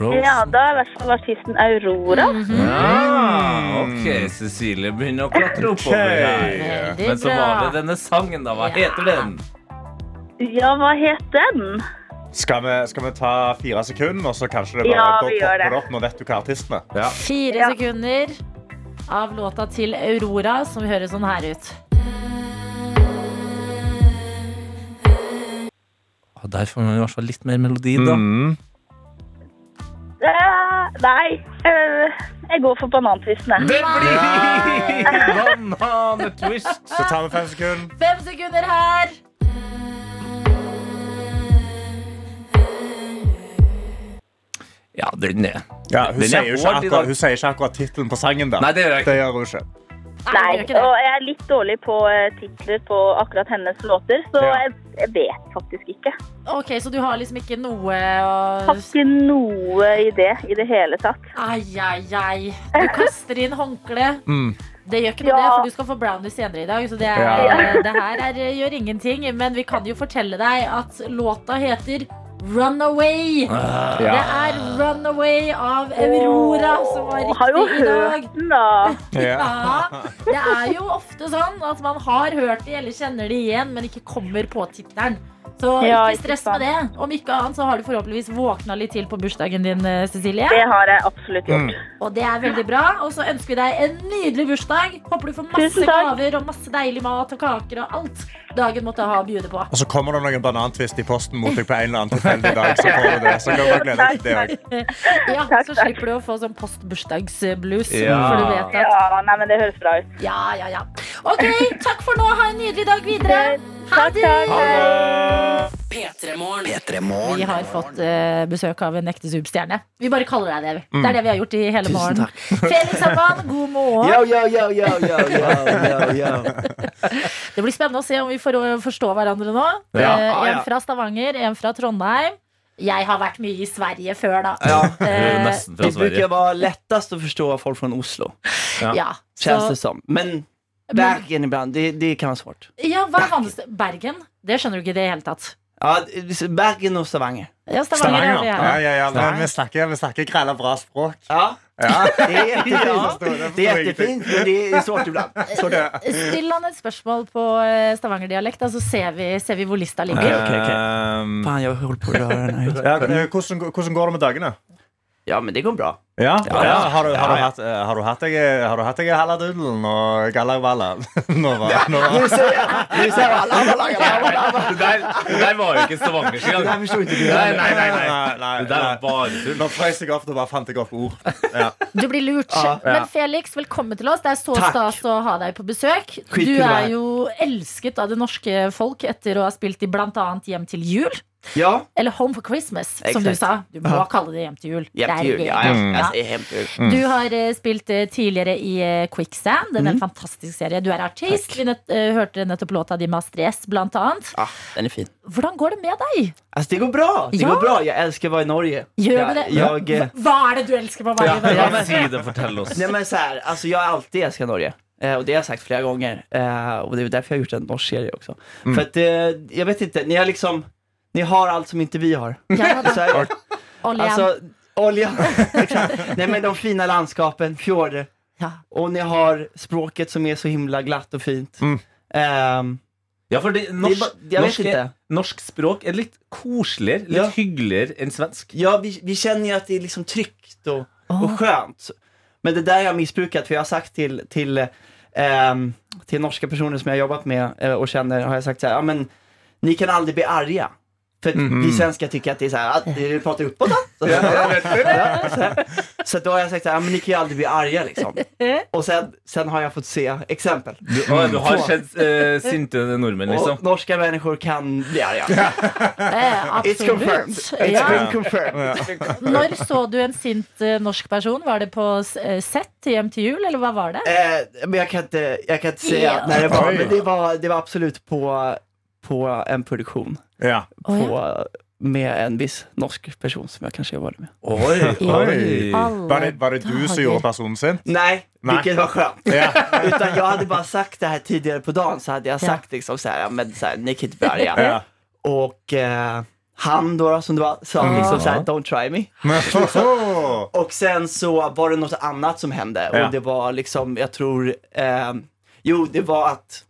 Ja, da er i hvert fall artisten Aurora.
Mhm. Ja,
Mm.
ok, Cecilie begynner å klatre oppover her.
Veldig
Men så
bra.
var det denne sangen, da. Hva heter den?
Ja, hva het den?
Skal vi, skal vi ta fire sekunder, og så kanskje det bare
Ja,
da
vi gjør
popper
det.
det opp? Nå vet du hva artisten er.
Ja.
Fire
Ja.
sekunder av låta til Aurora, som høres sånn her ut.
Ah, Der får man i hvert fall litt mer melodi, da.
Eh, nei, eh, jeg går for banantvisten, jeg.
Det blir bananetwist!
Så tar vi fem sekunder.
Fem sekunder her.
Ja, den er
Ja, hun,
Den er
sier jo ikke
hård i dag.
akkurat, hun sier ikke akkurat tittelen på sangen. der.
Nei, det gjør jeg ikke.
Det gjør hun ikke.
Nei,
det gjør ikke
og
det.
jeg er litt dårlig på eh, titler på akkurat hennes låter, så
Ja.
jeg, jeg vet faktisk ikke.
Ok, Så du har liksom ikke noe å
Har ikke noe idé i det hele tatt.
Ai, ai, ai. Du kaster inn håndkle.
Mm.
Det gjør ikke noe, det,
Ja.
for du skal få brownies senere i dag. Så det, er,
Ja.
det her er, gjør ingenting. Men vi kan jo fortelle deg at låta heter Runaway.
Ah.
Det er Runaway av Aurora som var
Og har jo
riktig i dag.
hørt den, da.
Ja.
Ja, det er jo ofte sånn at man har hørt de eller kjenner de igjen, men ikke kommer på tittelen. Så
Ja,
ikke stress
ikke sant.
med det. Om ikke annet så har du forhåpentligvis våkna litt til på bursdagen din, eh, Cecilie.
Det har jeg absolutt gjort.
Og det er veldig bra. Og så ønsker vi deg en nydelig bursdag. Håper du får masse
Tusen takk.
gaver og masse deilig mat og kaker og alt dagen måtte ha å bjude på.
Og så kommer det noen banantvist i posten mot deg på en eller annen tilfeldig dag. Så får du det. Så kan du bare glede deg til det også.
Ja,
Takk,
Så
takk.
slipper du å få sånn postbursdagsblues.
Ja.
For du vet at
Ja, nei, men det høres bra ut.
Ja, ja, ja. OK, takk for nå. Ha en nydelig dag videre. Ha
Takk,
det.
takk. Hei.
P3-morgen.
Vi har fått eh, besøk av en ekte superstjerne. Vi bare kaller deg det. vi. Det er det vi har gjort i hele morgen. Felix Hamman, god morgen.
Yo, yo, yo, yo, yo, yo, yo, yo.
Det blir spennende å se om vi får forstå hverandre nå.
Ja.
Eh,
Ja, ja.
En fra Stavanger, en fra Trondheim. Jeg har vært mye i Sverige før, da.
Det er jo
Eh,
nesten fra
Det brukar
Sverige.
vara lättast att förstå av folk från Oslo,
Ja.
ja.
känns det
Så,
som. Men
men,
Bergen ibland, det, det kan vara svårt.
ja, hva er vanligst? Bergen? Det skjønner du ikke i det hele tatt.
Ja, Bergen og Stavanger.
Ja, Stavanger er
Stavanger.
det
Ja,
gjerne.
ja, ja. Men vi snakker, vi snakker grella bra språk.
Ja,
Ja.
det är jättefint.
Ja.
Det är jättefint, men det är svårt ibland. Svårt.
Still han et spørsmål på eh, stavangerdialekt, da, så ser vi, ser vi hvor lista ligger.
okej, okej.
Ehm,
Fan, jag höll på att röra den här.
ja, eh, hvordan, hvordan går det med dagene?
Ja, men det går bra.
Ja,
Ja,
ja, har, du, har, du hatt, eh, har du hatt deg Har du hatt deg i Halladudelen og Gallavalla? Nå var, nå var.
Nu säger jag, nu säger jag alla, alla, alla, alla, alla.
Det der, det der var jo ikke stavangersk
Det här
engang.
förstår inte du.
Nei, nei, nei, nei.
nei,
Det der var bare tull.
Nå frøs jeg opp, da bare fant jeg opp ord.
Du blir lurt.
Ja.
Men Felix, velkommen til oss. Det er så
Takk.
stas å ha deg på besøk. Du
Skitkul å være
er
her.
jo elsket av det norske folk etter å ha spilt i bl.a. Hjem til jul.
Ja,
Eller Home for Christmas, som
Exakt.
du sa. Du må
Ja.
kalle det Hjem til jul. Det
hjälp
er
till jul.
gøy.
Ja, ja,
Ja.
jag säger hjälp till jul.
Du har eh, spilt eh, tidligere i eh, Quicksand. Den
Mm.
er en fantastisk serie. Du er artist. Vi nett, eh, hørte nettopp låta di med Astrid blant annet.
Ja, Ah, den är fin.
Hvordan går det med deg?
Alltså det går bra, det
Ja.
går bra. Jag älskar att vara i Norge.
Gjør du det?
Jag, jag,
Hva er det du elsker med å være i
Ja,
Norge?
men si det, fortell oss.
Nej men så här, alltså jag har alltid älskat Norge. Eh, och det har jag sagt flera gånger. Eh, och det är därför jag har gjort en norsk serie också. För att eh, jag vet inte, ni har liksom, ni har allt som inte vi har.
Ja, da.
Så här,
Oljen.
alltså, olja, exakt. Nej men de fina landskapen, fjorder.
Ja.
Och ni har språket som är så himla glatt och fint.
Mm.
Ehm,
Ja, for det,
det är
norsk,
bara- jag vet
norsk,
inte.
er, norsk språk er litt koseligere, litt
Ja.
hyggeligere enn svensk.
Ja, vi, vi känner ju att det är liksom tryggt och,
Åh.
och skönt. Men det där har jag missbrukat, för jag har sagt till, till, ehm, till norska personer som jag har jobbat med eh, och känner, har jag sagt så här, ja men ni kan aldrig bli arga. För att vi svenskar tycker att det är så här, att du pratar uppåt då. Så, Ja, så, här. så då har jeg sagt så här, ja, men ni kan ju aldrig bli arga liksom. Och sen, sen har jag fått se exempel.
Du, å, du har sett eh, sinte nordmenn, liksom.
Och norska människor kan bli arga.
Eh,
It's confirmed.
absolutt.
It's
Ja.
been confirmed.
Når så du en sint eh, norsk person? Var det på s- eh, sett til Hjem til jul, eller hva var det?
Eh, men jag kan inte, jag kan inte säga
Ja.
när det var,
Oj.
men det var, det var absolut på, på en produktion.
Ja.
På,
Å, ja.
med en viss norsk person som jag kanske jobbade med.
Oi, oi.
eh, Var det, var det du som gjorde personen sin?
Nej,
Nej.
vilket var skönt.
Ja.
Utan jag hade bara sagt det här tidigare på dagen så hade jag sagt liksom så här, ja, men så här, ni kan inte börja.
Ja.
Och eh, han då, som det var, sa liksom så här, don't try me.
Åh.
Och sen så var det något annat som hände
Ja.
och det var liksom, jag tror, eh, jo det var att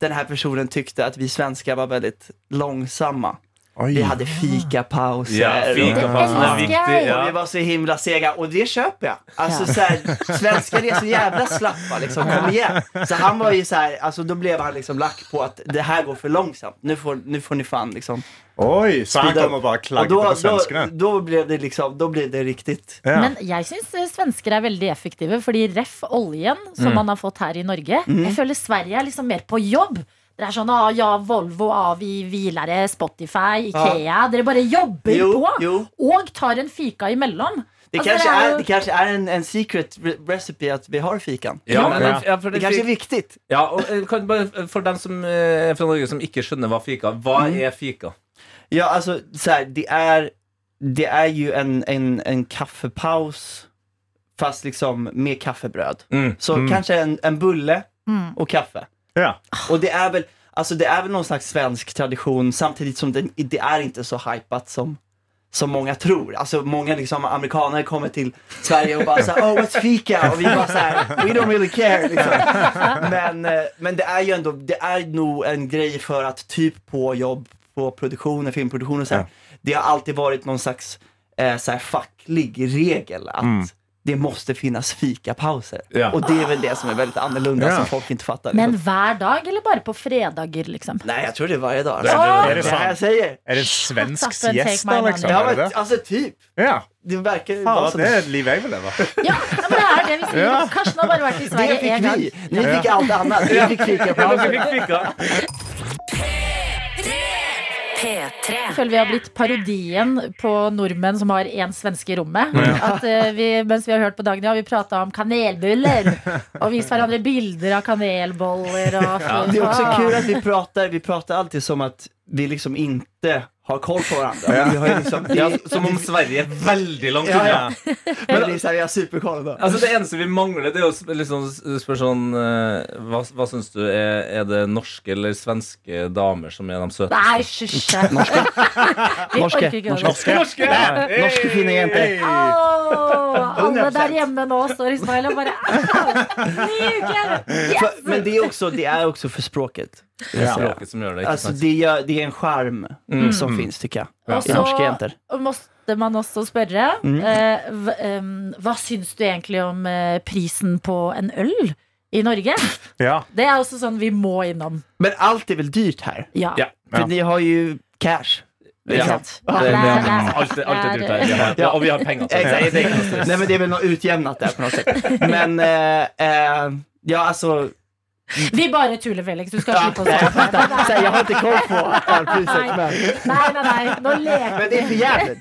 den här personen tyckte att vi svenskar var väldigt långsamma.
Oj.
Vi hade fikapauser.
Ja, fikapausen
Ja.
er viktig.
Och vi
Ja.
var så himla sega och det köper jag. Alltså så här, svenskar är så jävla slappa liksom, kom igen. Så han var ju så här, alltså då blev han liksom lack på att det här går för långsamt. Nu får, nu får ni fan liksom.
Oj, så han kommer bara klagga
då,
på
då,
svenskarna?
då blev det liksom, då blev det riktigt.
Ja.
Men jeg syns eh, svensker er veldig effektive, fordi ref oljen som
Mm.
man har fått her i Norge
Mhm.
Jeg føler Sverige er liksom mer på jobb. Dere er sånn ah, ja, Volvo, Avi, Hvilere, Spotify, Ikea. Dere bare jobber
Jo,
på!
jo.
Og tar en fika imellom.
Det
Altså,
kanske
det er jo-
är, det kanske är en, en secret re- recipe att vi har fikan.
Ja, men,
Ja.
ja, for
Det
den
kanske är
fik-
viktigt.
ja, og eh, kan bare, for dem som, eh, fra Norge som ikke skjønner hva fika Hva
Mm.
er fika?
Ja, alltså så här, det är, det är ju en, en, en kaffepaus fast liksom med kaffebröd.
Mm.
Så kanske en, en bulle och kaffe.
Ja.
Och det är väl, alltså det är väl någon slags svensk tradition samtidigt som det, det är inte så hypat som som många tror. Alltså många liksom amerikaner kommer till Sverige och bara såhär oh what's fika? Och vi bara såhär we don't really care liksom. men, eh, men det är ju ändå, det är nog en grej för att typ på jobb, på produktioner, filmproduktioner och så här, Det har alltid varit någon slags eh, så här, facklig regel att det måste finnas fikapauser.
Ja.
Och det är väl det som är väldigt annorlunda
Ja.
som folk inte fattar. Liksom.
Men hver dag, eller bare på fredager, liksom?
Nej jag tror det är varje dag.
Det
Alltså.
är det
Det här jag
sant?
säger.
Är det en
Shut
svensk
up and take my
siesta,
money.
liksom?
Det har
Är det
varit,
det?
alltså typ.
Ja.
Det verkar ju vara
Fan,
så.
det är ett liv jag vill leva.
Ja, men det er det vi sier. Karsten har bare vært i
Det
Sverige
fick
én gang.
vi. Ni fick allt annat. Vi fick fikapauser.
P3
Jeg føler vi har blitt parodien på nordmenn som har én svenske i rommet. At eh, vi, Mens vi har hørt på Dagny, har vi prata om kanelbuller. Og vist hverandre bilder av kanelboller. Og,
Det är också kul att vi pratar, vi pratar alltid som att vi liksom inte har koll på varandra. Men vi har ju liksom, det,
Ja, som om Sverige er veldig langt unna.
Ja, men det är så här, vi har superkoll. Då.
Altså Det eneste vi mangler, det er å sp- liksom s- spørre sånn eh, Hva, hva syns du? Er, er det norske eller svenske damer som er de søte?
Nei, hysj! Norske. Vi orker ikke det.
Norske! Hey!
Norske fine jenter.
Åh, alle der hjemme nå står Ismail og bare «Au, Ny uke! Yes!
För- Men det är också, det är också för språket.
Det er språket som gjør det. Ikke
Alltså
sant?
det, gör, det är en charm som finns tycker jag.
Og
I norska jenter.
så måtte man også spørre eh, hva- em, Hva syns du egentlig om eh, prisen på en øl i Norge?
Ja.
Det er også sånn vi må innom.
Men allt är väl dyrt här?
Ja.
Ja.
För
Ja.
ni har ju cash.
Ikke
Ja.
sant?
Det, det,
Der, der.
alt, er- alt er dyrt her. Vi har- Ja, og vi har penger til det.
Exakt, exakt. Nej men det är väl något utjämnat där på något sätt. Men eh, eh, ja alltså,
Vi bare tuller, Felix. Du skal
ja,
slippe å svare
nej, jag,
på det.
fattar. Så här, jag har inte koll på ölpriset men,
Nei, nei, nei. Nå leker
men det är för jävligt.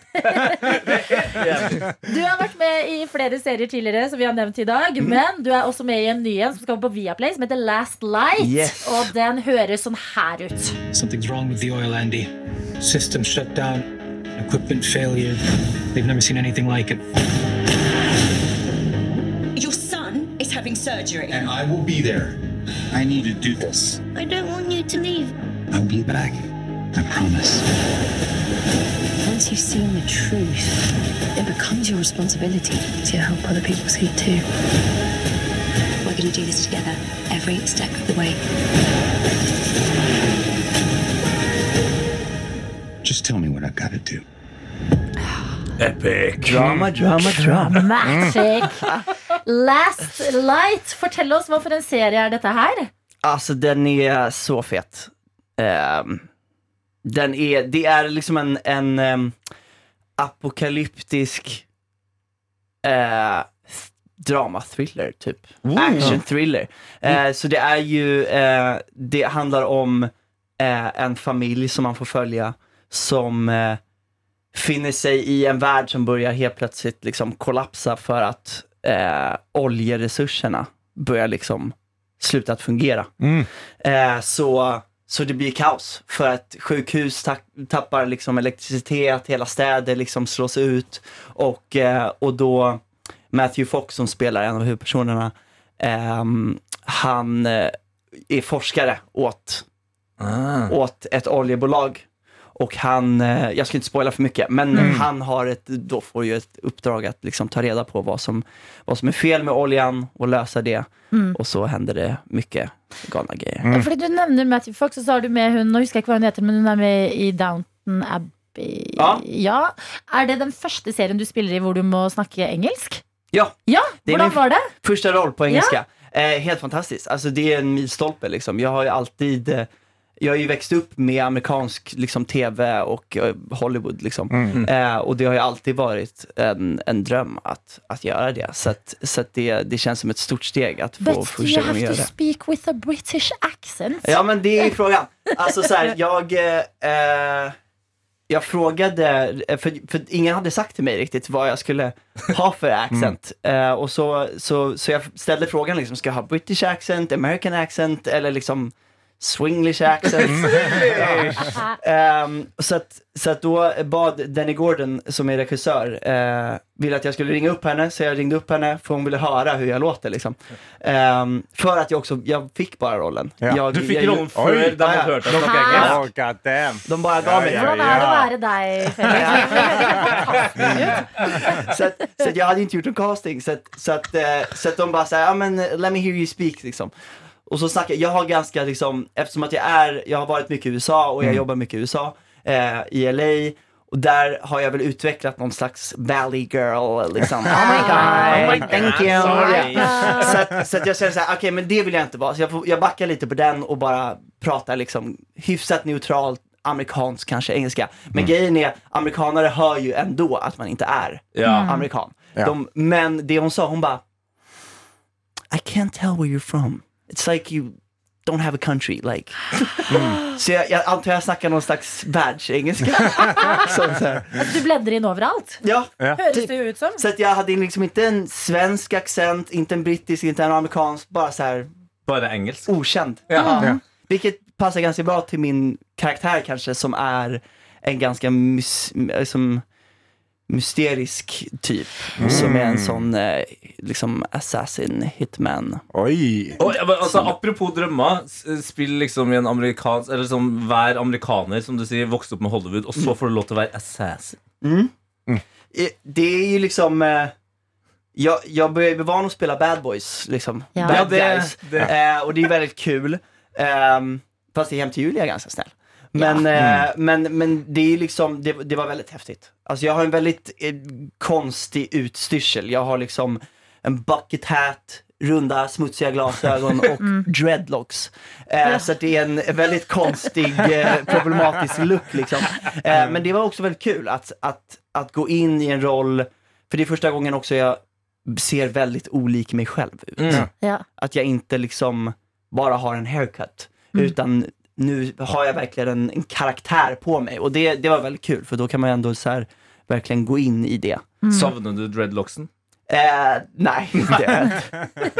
Du har vært med i flere serier tidligere, som vi har nevnt i dag.
Mm.
Men du er også med i en ny en som skal på Viaplay, som heter Last Light.
Yes.
Og den høres sånn her ut.
Something's wrong with the oil, Andy. System shut down, equipment failure. They've never seen anything like it.
Your son is having surgery.
And I will be there. I need to do this.
I don't want you to leave.
I'll be back. I promise.
Once you've seen the truth, it becomes your responsibility to help other people see it too. We're going to do this together every step of the way.
Just tell me what I've got to do.
Drama, drama, drama.
Magic. Last Light. Fortell oss hva for en serie er dette her?
Alltså den är så fet. Ehm, den är, det är liksom en, en ehm, apokalyptisk eh, th- dramathriller typ. Action thriller. Eh, Så det är ju, eh, det handlar om eh, en familj som man får följa som eh, finner sig i en värld som börjar helt plötsligt liksom kollapsa för att eh, oljeresurserna börjar liksom sluta att fungera. Eh, så Så det blir kaos för att sjukhus ta- tappar liksom elektricitet, hela städer liksom slås ut och, eh, och då Matthew Fox som spelar en av huvudpersonerna, ehm, han eh, är forskare åt, åt ett oljebolag. Och han, eh, jag ska inte spoila för mycket, men
Mm.
han har ett, då får ju ett uppdrag att liksom ta reda på vad som, vad som är fel med oljan og løse det.
Mm.
Og så hender det mye galne greier.
Ja, Fordi du nevner Matthew Fox, og så har du med hun Nå husker jeg ikke hva hun heter, men hun er med i Downton Abbey.
Ja.
Er det den første serien du spiller i hvor du må snakke engelsk?
Ja,
Ja,
Det är
hvordan
min
var det?
Första roll på engelska. Eh, helt fantastiskt. Alltså, det är en milstolpe. Liksom. Jag har ju alltid eh, jag har ju växt upp med amerikansk liksom, tv och eh, Hollywood. Liksom. Eh, och det har ju alltid varit en, en dröm att, att göra det. Så, att, så att det, det känns som ett stort steg att få
But do
första
you
gången
have
göra
to
det.
speak with a British accent?
Ja men det är ju frågan. Alltså så här, jag, eh, eh, jag frågade, eh, för, för ingen hade sagt till mig riktigt vad jag skulle ha för accent. Eh, och så, så, så jag ställde frågan liksom, ska jag ha British accent, American accent eller liksom Swinglish accent. Ehm, så att, så att då bad Danny Gordon, som är regissör, eh, ville att jag skulle ringa upp henne, så jag ringde upp henne för hon ville höra hur jag låter liksom. Ehm, för att jag också, jag fick bara rollen.
Ja.
Jag,
Du fick
jag-
rollen før de hadde hørt deg snakke
Ja.
engelsk. God damn.
De bare ga meg
Hvordan er det å være deg, Felix?
så, att, så att jag hade inte gjort någon casting. Så att, så att, eh, så att de bara såhär, ja men eh, let me hear you speak liksom. Och så snackar jag, jag har ganska liksom, eftersom att jag är, jag har varit mycket i USA och jag
Mm.
jobbar mycket i USA, eh, i LA. Och där har jag väl utvecklat någon slags valley girl liksom. Oh my god,
Oh my God,
thank you.
sorry.
Så, att, så att jag känner såhär, okej men det vill jag inte vara. Så jag, får, jag backar lite på den och bara pratar liksom hyfsat neutralt, amerikansk kanske, engelska. Men
Mm.
grejen är, amerikanare hör ju ändå att man inte är
Ja. Mm.
amerikan.
Ja.
De, men det hon sa, hon bara I can't tell where you're from. It's like you don't have a country. Like.
Mm.
Så jag, jag antar jag snackar någon slags världsengelska. Sånt här.
Du bläddrer inn overalt.
Ja,
Høres
typ.
det jo ut som.
Så att jag hade liksom inte en svensk accent, inte en brittisk, inte en amerikansk, bara så här
Bare engelsk.
okänd.
Ja. Ja.
Vilket passar ganska bra till min karaktär kanske, som är en ganska mys- liksom, mysterisk typ.
Mm.
Som är en sån eh, liksom assassin hitman.
Oj!
Og, ja, men, altså, apropos drømmer. s- Spill liksom i en amerikansk Eller som vær amerikaner, som du sier. Vokste opp med Hollywood, og så får du lov til å være assassin.
Mm. Eh, Det är ju liksom... Eh, jag, jag börjar ju bli van att spela bad boys, liksom.
Ja.
Bad
Ja, det-
guys.
det-
Eh, och det är väldigt kul. Ehm, fast i Hem till Julia är jag ganska snäll. Men, eh, men, men det är ju liksom, det, det var väldigt häftigt. Alltså jag har en väldigt eh, konstig utstyrsel. Jag har liksom en bucket hat, runda smutsiga glasögon och dreadlocks. Eh, Så att det är en väldigt konstig, eh, problematisk look liksom. Eh, men det var också väldigt kul att, att, att gå in i en roll, för det är första gången också jag ser väldigt olik mig själv ut.
Mm.
Ja.
Att jag inte liksom bara har en haircut,
Mm.
utan nu har jag verkligen en, en karaktär på mig. Och det, det var väldigt kul, för då kan man ju ändå så här, verkligen gå in i det.
Mm.
Savner du dreadlocksen?
Eh, nej, det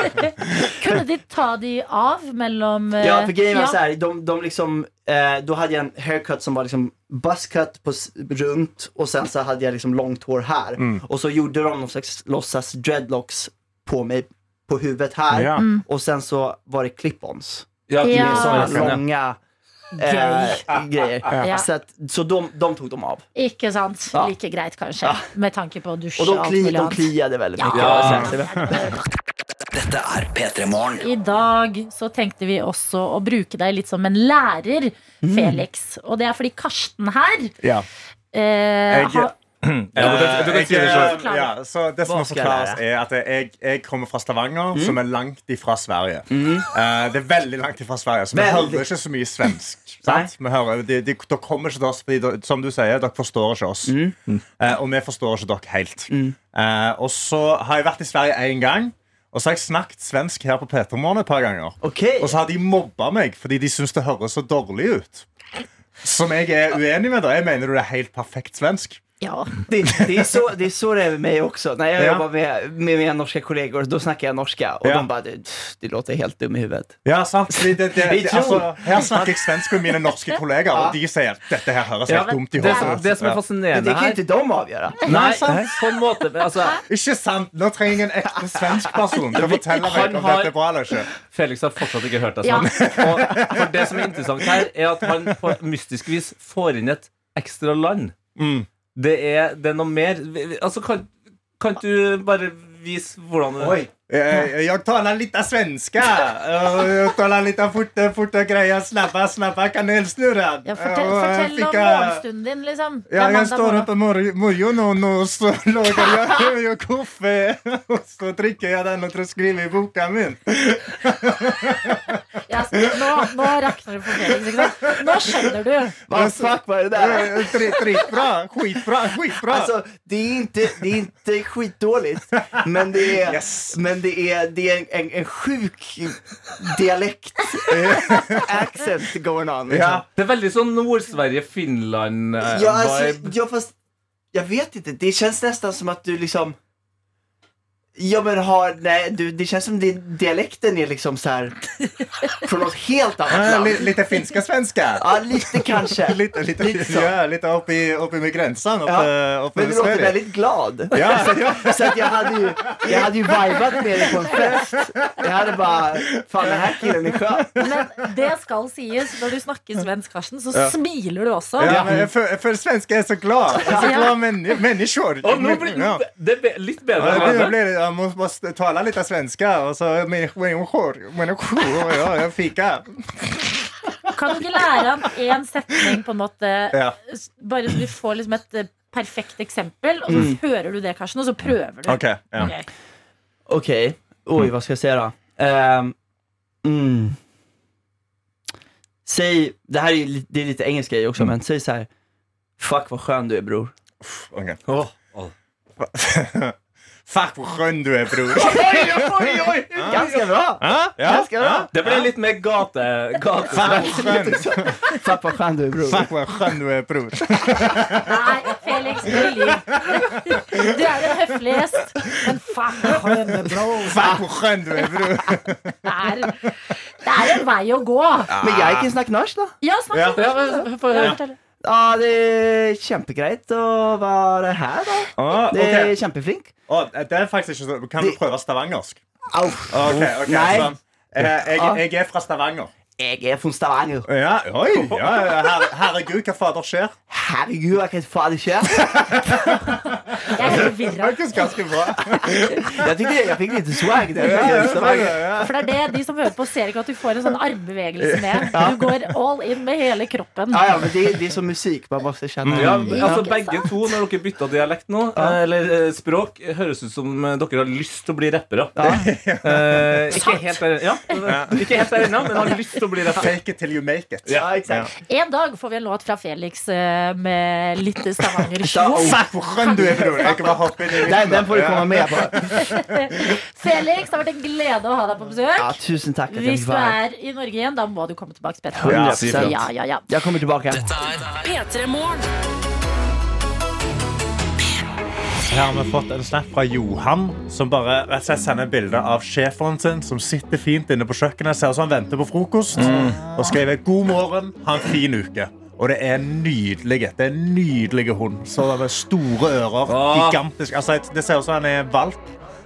Kunne de ta de av mellom eh,
Ja, för grejen var
ja.
så här, de, de liksom, eh, då hade jag en haircut som var liksom buzzcut på s- runt och sen så hade jag liksom långt hår här.
Mm.
Och så gjorde de någon slags låtsas dreadlocks på mig på huvudet här
Ja. Mm.
och sen så var det clip-ons.
Ja,
Med
Ja.
sådana
ja.
långa
Grej.
eh, grejer.
Ja.
Så, att, så de, de tog dem av.
Ikke sant?
Ja.
Like greit, kanskje. Med tanke på å dusje
Och de,
alt
kli,
mulig
de
annet.
kliade väldigt
Ja.
mycket.
Ja.
Så att det-
Dette er P3 Morgen.
I dag så tenkte vi også å bruke deg litt som en lærer,
Mm.
Felix. Og det er fordi Karsten her
Ja.
eh,
Jeg-
har
Ja, du kan- du kan
Jeg-
si det selv.
eh, ja, så det som må
Hva skal jeg
forklares,
lære? Mm.
er at jeg, jeg kommer fra Stavanger, som er langt ifra Sverige. Eh, det er veldig langt ifra Sverige, så vi
Veldig.
hører ikke så mye svensk. sant? Vi hører, de, de, dere kommer ikke til oss, fordi dere- som du sier, dere forstår ikke oss.
Mm.
Eh, og vi forstår ikke dere helt. Eh, og så har jeg vært i Sverige én gang. Og så har jeg snakket svensk her på Petermorgen et par ganger. Og så har de mobba meg fordi de syns det høres så dårlig ut. Som jeg er uenig med. da. Jeg mener du er helt perfekt svensk.
Ja.
Det, det, är så, det är så det är med mig också. När jag
Ja.
jobbar med, med mina norska kollegor, då snackar jag norska. Och
Ja.
de bara, du, det låter helt dum i huvudet.
Ja, sant. Fordi det, det,
Vi
det,
tror-
altså, her snakker jeg svensk med mine norske kolleger, og de sier dette her høres helt dumt i
det,
hodet.
som, det som er
Ja.
fascinerende her
de avgjøre.
Nei, på en måte. Men, altså,
Ikke sant? Nå trenger jeg en ekte svensk person til å fortelle meg
Han
om
har-
dette er bra eller ikke.
Felix har fortsatt ikke hørt deg
Ja.
sånn. Og for det som er interessant her, er at han på mystisk vis får inn et ekstra land. Det, er, det er noe mer vi- vi- Altså, kan, kan du bare vise hvordan det
Oi. Jeg, Eh, jeg taler litt av svenska. Eh, Jeg taler litt av fort, fort og greia. Snabba, snabba kanelsnurren.
Ja, fortell,
Og jeg
fortell om
fikk, eh,
morgenstunden din, liksom. Det er
Ja, jeg
mandag
står
morgen.
opp i mor- morgenen, og så lager jeg jo kaffe. Og så drikker jeg den og så skriver jeg i boka min.
Ja, så nå, nå rakner det for Felix, ikke sant? Nå skjønner du.
Vad fuck var det
Eh,
Altså, där?
Skitbra, skitbra, skitbra.
Alltså, det är inte, det är inte skitdåligt, men det är, men det är, det är en, en, en sjuk dialekt. Accent going on. liksom.
Ja. Det er veldig sånn eh, Nord-Sverige-Finland-vibe.
Eh,
Ja, alltså, ja, fast jag vet inte. Det känns nästan som att du liksom... Ja men har, nej, du, det känns som din dialekten är liksom så här från något helt annat
Ja,
land.
Eh, li- lite finska-svenska.
Ja, lite kanske.
Lite, lite,
Lite så.
ja, lite upp, i, upp i med gränsen. Upp,
sånn. Ja,
upp
men
över
du låter
Sverige.
väldigt glad.
Ja.
Så, att, så att jag hade ju, jag hade ju vibat med dig på en fest. Jag hade bara, fan den här killen är skön.
Men det skal sies, når du snakker svensk, Karsten, så
Ja.
smiler du også.
Ja, men för, för svenska är så glad. Jag är så
Ja.
glad män, människor.
Å, nå blir
Ja.
det er be- litt bedre.
Ja,
enn
det
det.
blir, jag måste, måste tala lite svenska och så människor, människor, ja, jag fika.
Kan du ikke lære ham én setning, på en måte?
Ja.
s- Bare så du får liksom et eh, perfekt eksempel, og så
Mm.
hører du det, Karsten, og så prøver du.
Ok, ja.
Ok.
Okej, oj vad ska jag säga då? Ehm, mm. Säg, det här är, ju li- det är lite engelska i också, men säg så här. Fuck vad skön du är bror.
Okej. Fuck vad skön du är bror.
oj, oj! Ganska bra!
Ja, ja,
Ganska bra!
Det ble litt mer gate... gatesvensk.
Fuck vad skön du är bror.
Fuck vad skön du är bror.
Nei, Felix, du lyver. Du er jo en høflig gjest, men faen, skjønne
Fuck vad skön du är bror.
det er, det er en vei å gå.
Men jeg kan snakke norsk, da.
Ja, snakk
Ja.
norsk.
Ja,
Få høre,
ja.
fortell.
Ja, det er kjempegreit å være her, da.
Ah,
Det er
okej.
kjempeflink.
Å, det er faktisk ikke så Kan du prøve stavangersk?
Au.
Ok, ok,
Nei.
sånn. Eh, jeg,
Ja.
jeg er fra Stavanger.
Jeg er fra Stavanger.
Ja, oi, ja, ja, her, herregud, hva fader skjer?
Herregud, hva faen skjer?
Det er faktisk ganske bra.
Jeg tyckte jeg fikk litt swag der.
Ja, ja,
Stavanger.
For det er det, De som hører på, ser ikke at du får en sånn armbevegelse med.
Ja.
Du går all in med hele kroppen.
Ja, ja, men det, det er som musikk. Man måste kjenne
Ja, altså Begge to, når dere bytta dialekt nå, eh, eller eh, språk, høres ut som eh, dere har lyst til å bli rappere. Eh, ikke, helt der, ja, ikke helt der ennå, men har lyst til å bli rappere.
Fake it till you make it.
Ja,
exakt.
En dag får vi en låt fra Felix eh, med litt Stavanger-show.
Fuck, hvor skjønn du er, bror! Jeg kan bare hoppe inn i
Den, den får du komme med på.
Felix, det har vært en glede å ha deg på
Ja,
besøk.
tusen takk. at jeg
Hvis
fikk
du
være her.
er i Norge igjen, da må du komme tilbake. Petter.
100%.
Ja, ja, ja.
Jeg kommer tilbake.
P3 Morgen.
Her har vi fått en snap fra Johan, som bare rett og slett sender bilde av sjefen sin, som sitter fint inne på kjøkkenet, ser ut som han venter på frokost,
Mm.
og skriver 'God morgen, ha en fin uke'. Og det er nydelig. Det er en nydelig hund. Så det er store ører.
Åh.
Gigantisk. Altså, det ser ut som han er valp,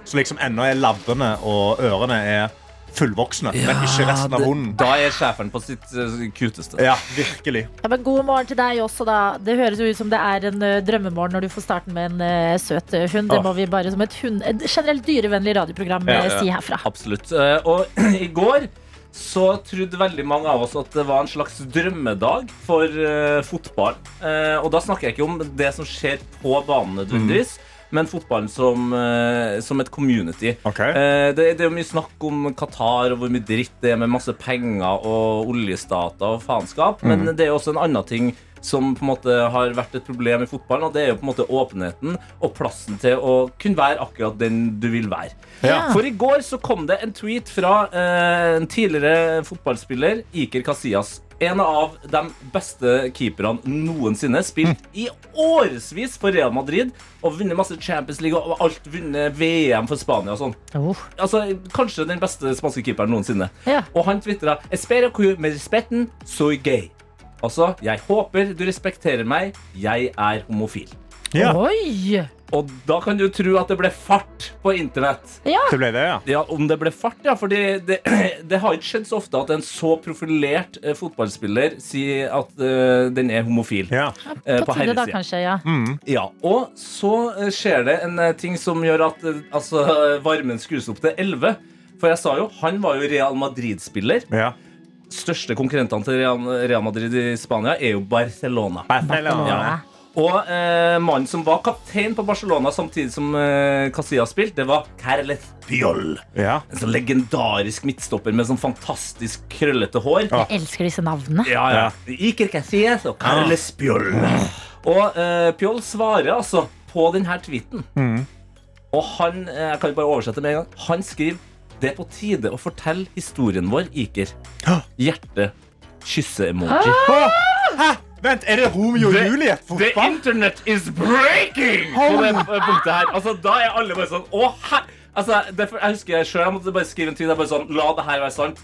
så liksom ennå er labbene og ørene er fullvoksne, men ikke resten av
det-
hunden.
Da er schæferen på sitt eh, cuteste.
Ja, virkelig.
Ja, men god morgen til deg også, da. Det høres jo ut som det er en ø, drømmemorgen når du får starten med en ø, søt ø, hund. Det
Åh.
må vi bare som et, hund, et generelt dyrevennlig radioprogram ø,
Ja, ja.
si herfra.
Absolutt. Eh, Og i går så trodde veldig mange av oss at det var en slags drømmedag for eh, fotball. Eh, og da snakker jeg ikke om det som skjer på banen nødvendigvis. Men fotballen som, eh, som et community. Eh, det, det er jo mye snakk om Qatar og hvor mye dritt det er med masse penger og oljestater og faenskap. Men
Mhm.
det er jo også en annen ting som på en måte har vært et problem i fotballen, og det er jo på en måte åpenheten og plassen til å kunne være akkurat den du vil være.
Ja.
For i går så kom det en tweet fra eh, en tidligere fotballspiller, Iker Casillas, en av de beste keeperne noensinne.
Mm.
Spilt i årevis for Real Madrid og vunnet masse Champions League og alt. Vunnet VM for Spania og sånn. Altså, kanskje den beste spanske keeperen noensinne.
Oh, Ja.
Og han tvitra Espero que me respeten, soy gay. Altså, jeg håper du respekterer meg, jeg er homofil.
Oi!
Og da kan du tro at det ble fart på internett.
Ja.
Det ble det, ja.
Om det ble fart, ja. For det, det har ikke skjedd så ofte at en så profilert eh, fotballspiller sier at eh, den er homofil. Eh,
På tide da,
herresiden. Mm.
kanskje. Ja.
Ja, og så eh, skjer det en eh, ting som gjør at eh, altså, eh, varmen skrus opp til 11. For jeg sa jo, han var jo Real Madrid-spiller. Største konkurrentene til Real, Real Madrid i Spania er jo Barcelona.
Barcelona.
Ja. Og eh, mannen som var kaptein på Barcelona samtidig som eh, Casillas spilte, det var Carleth Piol. En sånn legendarisk midtstopper med sånn fantastisk krøllete hår.
Jeg elsker disse navnene.
Ja, ja. Ah. Iker Casillas og Carles Pjol. Og eh, Pjol svarer altså på denne tweeten. Og han eh, jeg kan jo bare oversette med en gang Han skriver det er på tide å fortelle historien vår, Iker. Hjerte, kysse-emoji.
Vent, er det Romeo og Juliet?
The internet is breaking! På det eh, punktet her Altså, Da er alle bare sånn Å, her Altså, derfor, Jeg husker jeg selv, jeg måtte bare skrive en tweet. Jeg bare sånn, La det her være sant.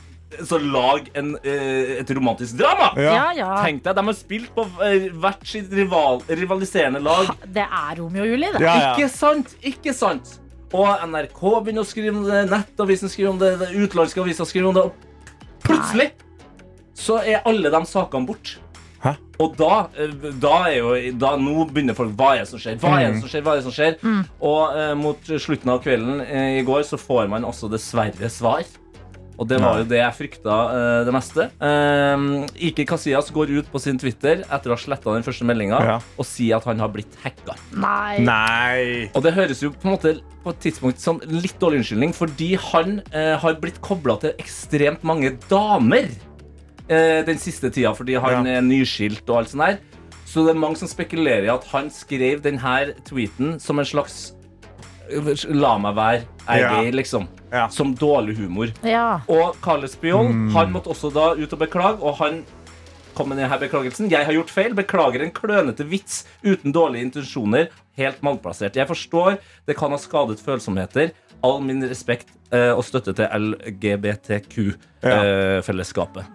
Så lag en, eh, et romantisk drama!
Ja. Ja, ja.
Tenk deg, De har spilt på eh, hvert sitt rival, rivaliserende lag.
Det er Romeo og Julie, det.
Ikke sant? Ikke sant? Og NRK begynner å skrive om det, Nettavisen skriver om det, det utenlandske aviser skriver om det. Og plutselig så er alle de sakene borte. Og da, eh, da er jo da, Nå begynner folk Hva er det som skjer? Hva er det som skjer? Hva er det som skjer? Og eh, mot slutten av kvelden eh, i går så får man også dessverre svar. Og det var jo det jeg frykta eh, det meste. Um, Ike Casillas går ut på sin Twitter etter å ha sletta den første meldinga og sier at han har blitt hacka.
Nei.
Og det høres jo på en måte på et tidspunkt som en litt dårlig unnskyldning, fordi han eh, har blitt kobla til ekstremt mange damer eh, den siste tida, fordi han er nyskilt og alt sånt der. Så det er mange som spekulerer i at han skrev denne tweeten som en slags eh, La meg være, jeg er
Ja.
gay, liksom. Som dårlig humor.
Ja.
Og Carles Biol
Mm.
han måtte også da ut og beklage, og han kom med denne beklagelsen. Jeg har gjort feil. Beklager en klønete vits uten dårlige intensjoner. Helt malplassert. Jeg forstår det kan ha skadet følsomheter. All min respekt eh, og støtte til LGBTQ-fellesskapet. eh,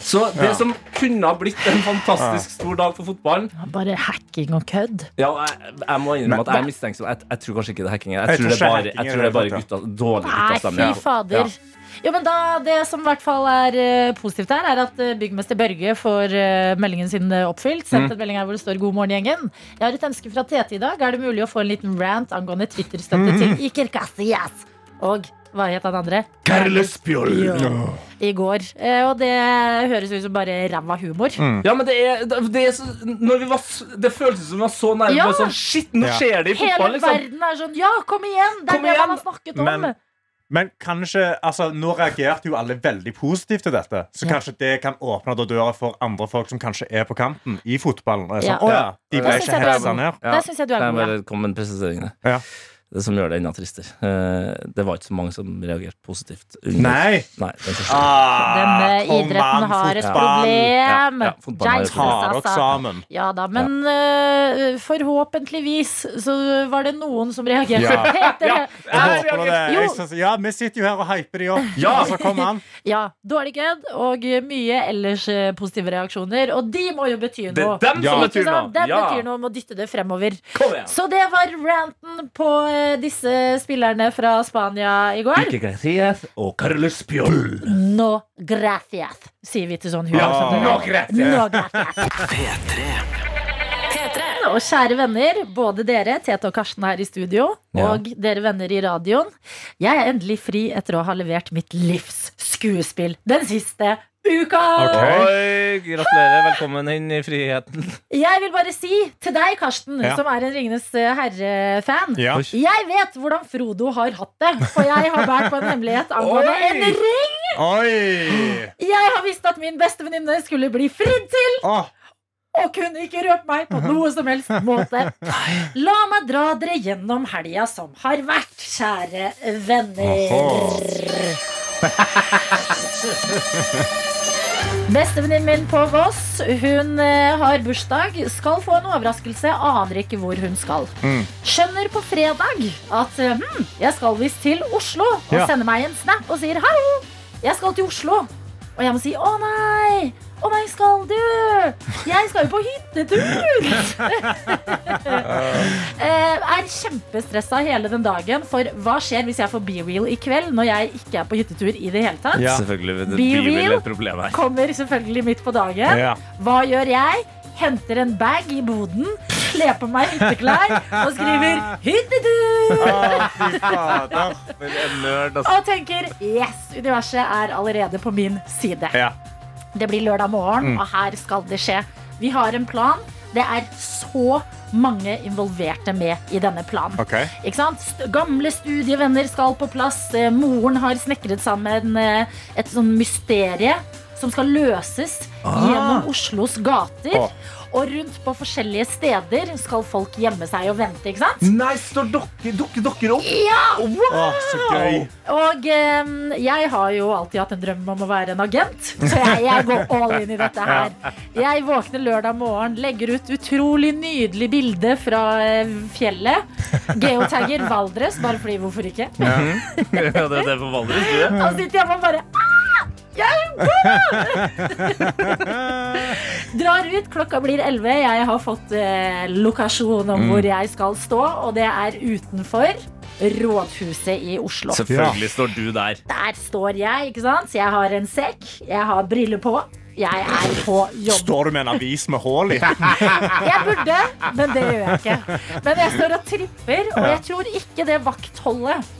Så det
Ja.
som kunne ha blitt en fantastisk stor dag for fotballen
Bare hacking og kødd.
ja, og jeg, jeg må innrømme
Men-
at jeg er mistenksom. Jeg, jeg tror kanskje ikke det er hacking. Jeg,
Jeg
tror
tror
det er
ikke
bare,
hacking
jeg
er
tror det er bare
det,
gutta, dårlig
Nei, fy
guttastemning.
fader. Jo, men da, Det som i hvert fall er eh, positivt her, er at eh, byggmester Børge får eh, meldingen sin eh, oppfylt. Sendt
Mm.
en melding her hvor det står 'God morgen, gjengen'. Jeg har et ønske fra Tete i dag. Er det mulig å få en liten rant angående Twitter-støtte
Mm.
Mhm.
til Iker Casillas? Og hva het han andre?
Carles Pjol.
I går. Eh, og det høres ut som bare ræva humor.
Ja, men det er, det er så, når vi var, s- Det føltes som vi var så nærme.
Ja.
bare Sånn, shit, nå
Ja.
skjer det i
Hele
fotball, liksom.
verden er sånn 'ja, kom igjen'! Det er det man har snakket om.
Men, men kanskje, altså, nå reagerte jo alle veldig positivt til dette. Så kanskje det kan åpne da døra for andre folk som kanskje er på kanten i fotballen. Og er sånn,
Ja.
«Å ja, de ble
Da synes
ikke
jeg du er
hetsa
god.
ned.
Der synes jeg du er
Nei,
god, ja.
bare kom med presiseringene. Det som gjør det enda tristere. Eh, Det var ikke så mange som reagerte positivt. under-
Nei. Ah,
Nei Ah. den første.
Denne eh, idretten har et problem.
Ja, ja, fotball har et
Jesus,
problem.
altså. Ja da, men øh, forhåpentligvis så var det noen som reagerte.
Ja.
Peter,
Ja, Jeg håper det.
Jo.
Jeg synes, ja, vi sitter jo her og hyper de opp.
Ja.
Så kom han.
Ja, dårlig kødd og mye ellers eh, positive reaksjoner. Og de må jo bety noe.
Det er dem som
Ikke
betyr
sant?
noe.
Dem
Ja.
betyr noe om å dytte det fremover.
Kom igjen.
Så det var ranten på eh, disse spillerne fra Spania i går.
Ike Garcias og Carlos Pjol.
No gracias, sier vi til sånn humor.
Ja,
som det
no
er.
Ah. gracias.
No Og kjære venner, både dere, Tete og Karsten her i studio,
Ja.
og dere venner i radioen. Jeg er endelig fri etter å ha levert mitt livs skuespill den siste uka!
Oi, gratulerer. Velkommen inn i friheten.
Jeg vil bare si til deg, Karsten,
Ja.
som er en Ringenes eh, herre-fan.
Ja.
Jeg vet hvordan Frodo har hatt det, for jeg har båret på en hemmelighet angående
Oi!
en ring!
Oi!
Jeg har visst at min beste venninne skulle bli fridd til!
Åh.
Og kunne ikke røpe meg på noe som helst måte. La meg dra dere gjennom helga som har vært, kjære venner. Bestevenninnen min på Voss Hun eh, har bursdag, skal få en overraskelse, aner ikke hvor hun skal. Skjønner på fredag at eh, hm, jeg skal visst til Oslo, og
Ja.
sender meg en snap og sier hallo, jeg skal til Oslo. Og jeg må si å nei, å nei, skal du? Jeg skal jo på hyttetur! Eh, er kjempestressa hele den dagen, for hva skjer hvis jeg får be-real i kveld, når jeg ikke er på hyttetur i det hele tatt?
Selvfølgelig. Det
Be
blir vel
real.
et problem her.
Kommer selvfølgelig midt på dagen.
Ja.
Hva gjør jeg? Henter en bag i boden, kler på meg hytteklær og skriver
Ah,
'hyttetur'!
en nerd,
og tenker 'yes, universet er allerede på min side'.
Ja.
Det blir lørdag morgen,
Mm.
og her skal det skje. Vi har en plan. Det er så mange involverte med i denne planen.
Ok.
Ikke sant? St- Gamle studievenner skal på plass. Eh, Moren har snekret sammen eh, et sånn mysterie som skal løses
Ah.
gjennom Oslos gater.
Å.
Og rundt på forskjellige steder skal folk gjemme seg og vente. ikke sant?
Nei, står dere, dere, dere opp?
Ja!
Å, så gøy.
Og eh, jeg har jo alltid hatt en drøm om å være en agent, så jeg, jeg går all in i dette her. Jeg våkner lørdag morgen, legger ut utrolig nydelig bilde fra eh, fjellet. Geotagger Valdres, bare fordi hvorfor ikke?
Ja. ja, det er det på Valdres, du.
Og så sitter jeg bare og bare «Ah, jeg er god!» Drar ut, klokka blir 11 Jeg har fått eh, lokasjon om
Mm.
hvor jeg skal stå Og det er utenfor Rådhuset i Oslo
Selvfølgelig står du der.
Der står jeg, ikke sant? Så jeg har en sekk, jeg har briller på Jeg er på jobb
Står du med en avis med hull i?
Jeg burde, men det gjør jeg ikke Men jeg står og tripper Og jeg tror ikke det vaktholdet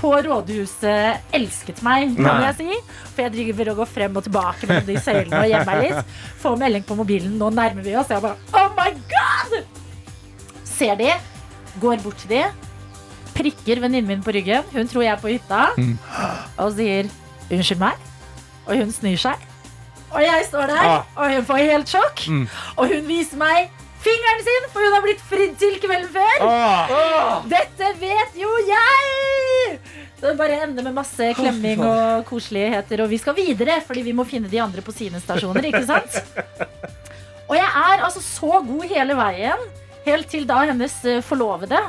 på rådhuset elsket meg, kan
Nei.
jeg si. For jeg driver og går frem og tilbake mellom de søylene og gjemmer meg litt. Får melding på mobilen, nå nærmer vi oss. Jeg bare Oh my God! Ser de, går bort til de, prikker venninnen min på ryggen. Hun tror jeg er på hytta,
Mm.
og sier unnskyld meg. Og hun snur seg. Og jeg står der,
Ah.
og hun får helt sjokk.
Mm.
Og hun viser meg fingeren sin, for hun har blitt fridd til kvelden før.
Ah.
Åh, Dette vet jo jeg! Så det bare ender med masse klemming og koseligheter, og vi skal videre, fordi vi må finne de andre på sine stasjoner, ikke sant? Og jeg er altså så god hele veien, helt til da hennes eh, forlovede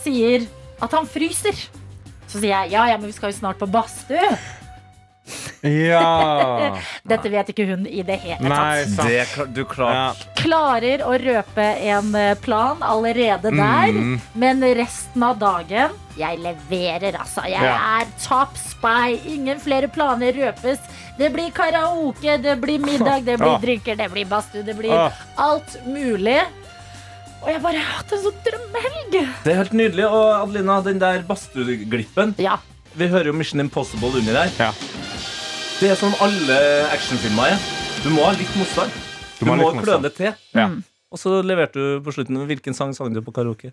sier at han fryser. Så sier jeg ja, ja, men vi skal jo snart på badstue.
Ja.
Dette vet ikke hun i det hele
Nei,
tatt.
sant.
Det, kla- du klart.
Klarer å røpe en eh, plan allerede der,
Mm.
men resten av dagen Jeg leverer, altså. Jeg
Ja.
er top spy. Ingen flere planer røpes. Det blir karaoke, det blir middag, det blir
Åh.
drinker, det blir badstue, det blir
Åh.
alt mulig. Og jeg bare har hatt en sånn drømmehelg.
Det er helt nydelig. Og Adelina, den der badstueglippen Vi hører jo Mission Impossible under der. Det er som alle actionfilmer er. Du må ha litt motstand. Du,
må ha
må
litt
klø
motstand.
det til.
Mm.
Og så leverte du på slutten. Hvilken sang sang du på karaoke?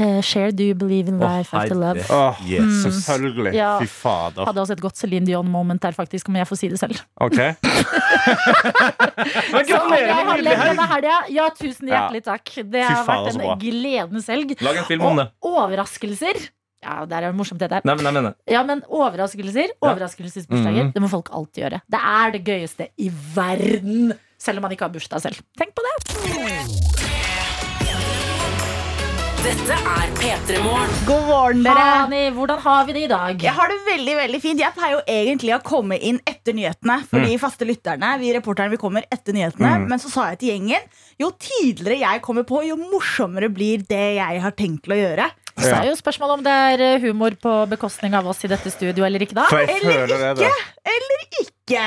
Eh, share Do You Believe in Life After Love.
Åh,
Mm.
Selvfølgelig.
Ja.
Fy fader.
Hadde også et godt Céline Dion-moment der, faktisk, om jeg får si det selv.
OK.
Så om jeg har levd denne helga, ja, tusen
Ja.
hjertelig takk. Det
Fy
har
faen,
vært
så
en
bra.
gledens helg.
Lag en film om det.
Og overraskelser. Ja, det er jo morsomt, det der.
Nei, men jeg mener
Ja, men overraskelser, overraskelsesbursdager,
Mhm.
det må folk alltid gjøre. Det er det gøyeste i verden, selv om man ikke har bursdag selv. Tenk på det.
Dette er P3 Morgen.
God morgen, dere.
Hani, hvordan har vi det i dag?
Jeg har det veldig, veldig fint. Jeg pleier jo egentlig å komme inn etter nyhetene. For de faste lytterne, vi reporterne, vi kommer etter nyhetene.
Mm.
Men så sa jeg til gjengen jo tidligere jeg kommer på, jo morsommere blir det jeg har tenkt til å gjøre.
Så er jo spørsmålet om det er eh, humor på bekostning av oss i dette studio eller ikke, da.
For jeg Eller føler det, da. ikke. Eller ikke.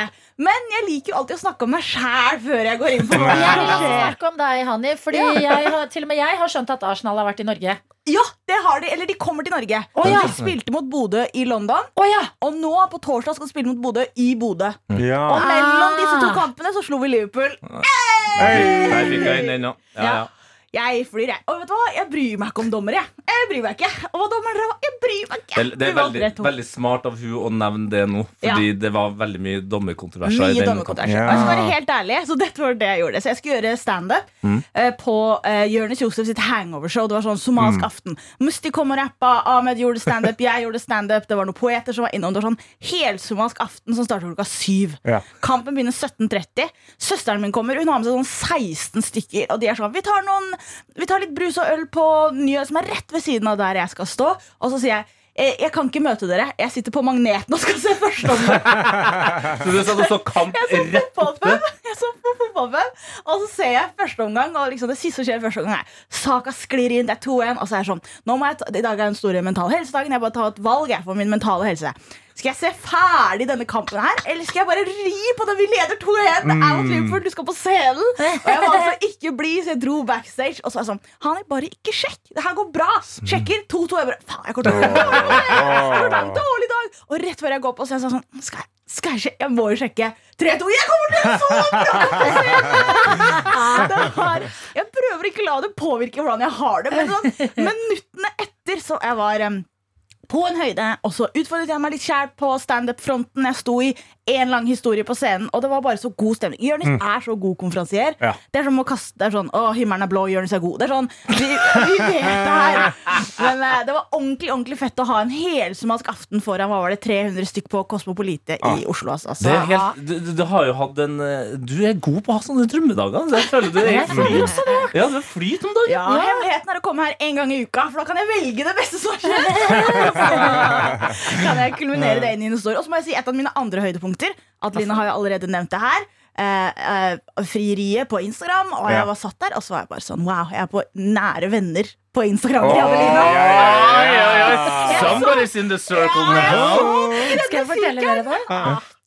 Men jeg liker jo alltid å snakke om meg sjæl før jeg går inn på hva
Jeg
som
vil
skjer.
snakke om deg, Hani, fordi
Ja.
jeg har, til og med jeg har skjønt at Arsenal har vært i Norge.
Ja, det har de. Eller de kommer til Norge.
ja.
De spilte mot Bodø i London. Og nå på torsdag skal de spille mot Bodø i Bodø.
Ja.
Og mellom disse to
Ah.
kampene så slo vi Liverpool.
Der fikk jeg inn den, ja. Ja, ja.
Jeg flyr, jeg. Og vet du hva? Jeg bryr meg ikke om dommer, jeg. Jeg bryr meg ikke. Og hva dommer dere var? Jeg bryr meg ikke.
Det, det er
Vi valgte
veldig,
rett to.
veldig smart av hun å nevne det nå, fordi
Ja.
det var veldig mye dommerkontroverser. i
Mye
den
dommerkontroverser.
kampen.
Og jeg skal være helt ærlig, så dette var det jeg gjorde. Så jeg skulle gjøre standup
Mm.
eh, på eh, Jonis Josef sitt hangover-show. Det var sånn somalisk
Mm.
aften. Musti kom og rappa, Ahmed gjorde standup, jeg gjorde standup. Det var noen poeter som var innom. Det var sånn helsomalsk aften som startet klokka syv.
Ja.
Kampen begynner 17.30. Søsteren min kommer, hun har med seg sånn 16 stykker. Og de er sånn Vi tar, noen, vi tar litt brus og øl på Nyø, som er rett ved siden av der jeg skal stå. Og så sier jeg «Eh, jeg kan ikke møte dere. Jeg sitter på Magneten og skal se
Så du sa du så kamp rett
fotballpub. Jeg så på fotballpub, og så ser jeg første omgang, og liksom det siste som skjer i første omgang, er Saka sklir inn, det er 2-1, og så er jeg sånn Nå må jeg ta, I dag er den store mentale helsedagen, jeg bare tar et valg jeg for min mentale helse. Skal jeg se ferdig denne kampen her, eller skal jeg bare ri på den? Vi leder 2-1, det er mot
Mm.
Liverpool, du skal på scenen. Og jeg var altså ikke blid, så jeg dro backstage, og så var jeg sånn Hani, bare ikke sjekk. Det her går bra. Sjekker 2-2. Jeg bare Faen, jeg kommer til å jeg har en dårlig dag! Og rett før jeg går på, så er jeg sånn Skal jeg, skal jeg, sjekke? jeg må jo sjekke. 3, 2, jeg kommer til å sove! Det var, jeg prøver ikke å la det påvirke hvordan jeg har det, men sånn, minuttene etter så jeg var em, på en høyde, og så utfordret jeg meg litt sjæl på standup-fronten. Jeg sto i én lang historie på scenen, og det var bare så god stemning. Jonis
Mm.
er så god konferansier.
Ja.
Det er som å kaste det er sånn, Å, himmelen er blå, Jonis er god. Det er sånn, vi, vi vet det her. Men eh, det var ordentlig ordentlig fett å ha en helsomalsk aften foran hva var det, 300 stykk på Kosmopolite i Oslo. Altså. Så
Ah. Det er
ja.
helt, du, du- du har jo hatt en eh, Du er god på å ha sånne drømmedager. Så jeg føler du er
Jeg sånn, føler
flyt.
også det.
Ja, du er flyt om dagen.
Ja, Hemmeligheten er å komme her én gang i uka, for da kan jeg velge det beste som har skjedd. Så kan jeg kulminere det inn i en historie. Og så må jeg si et av mine andre høydepunkter. Adeline har jo allerede nevnt det her. Eh, eh, frieriet på Instagram. Og
Ja.
jeg var satt der, og så var jeg bare sånn wow, jeg er på nære venner på
Åh,
Instagram. til Adeline.
ja, ja, ja, ja.
Sånn.
Somebody's in the circle now.
Skal jeg fortelle dere det?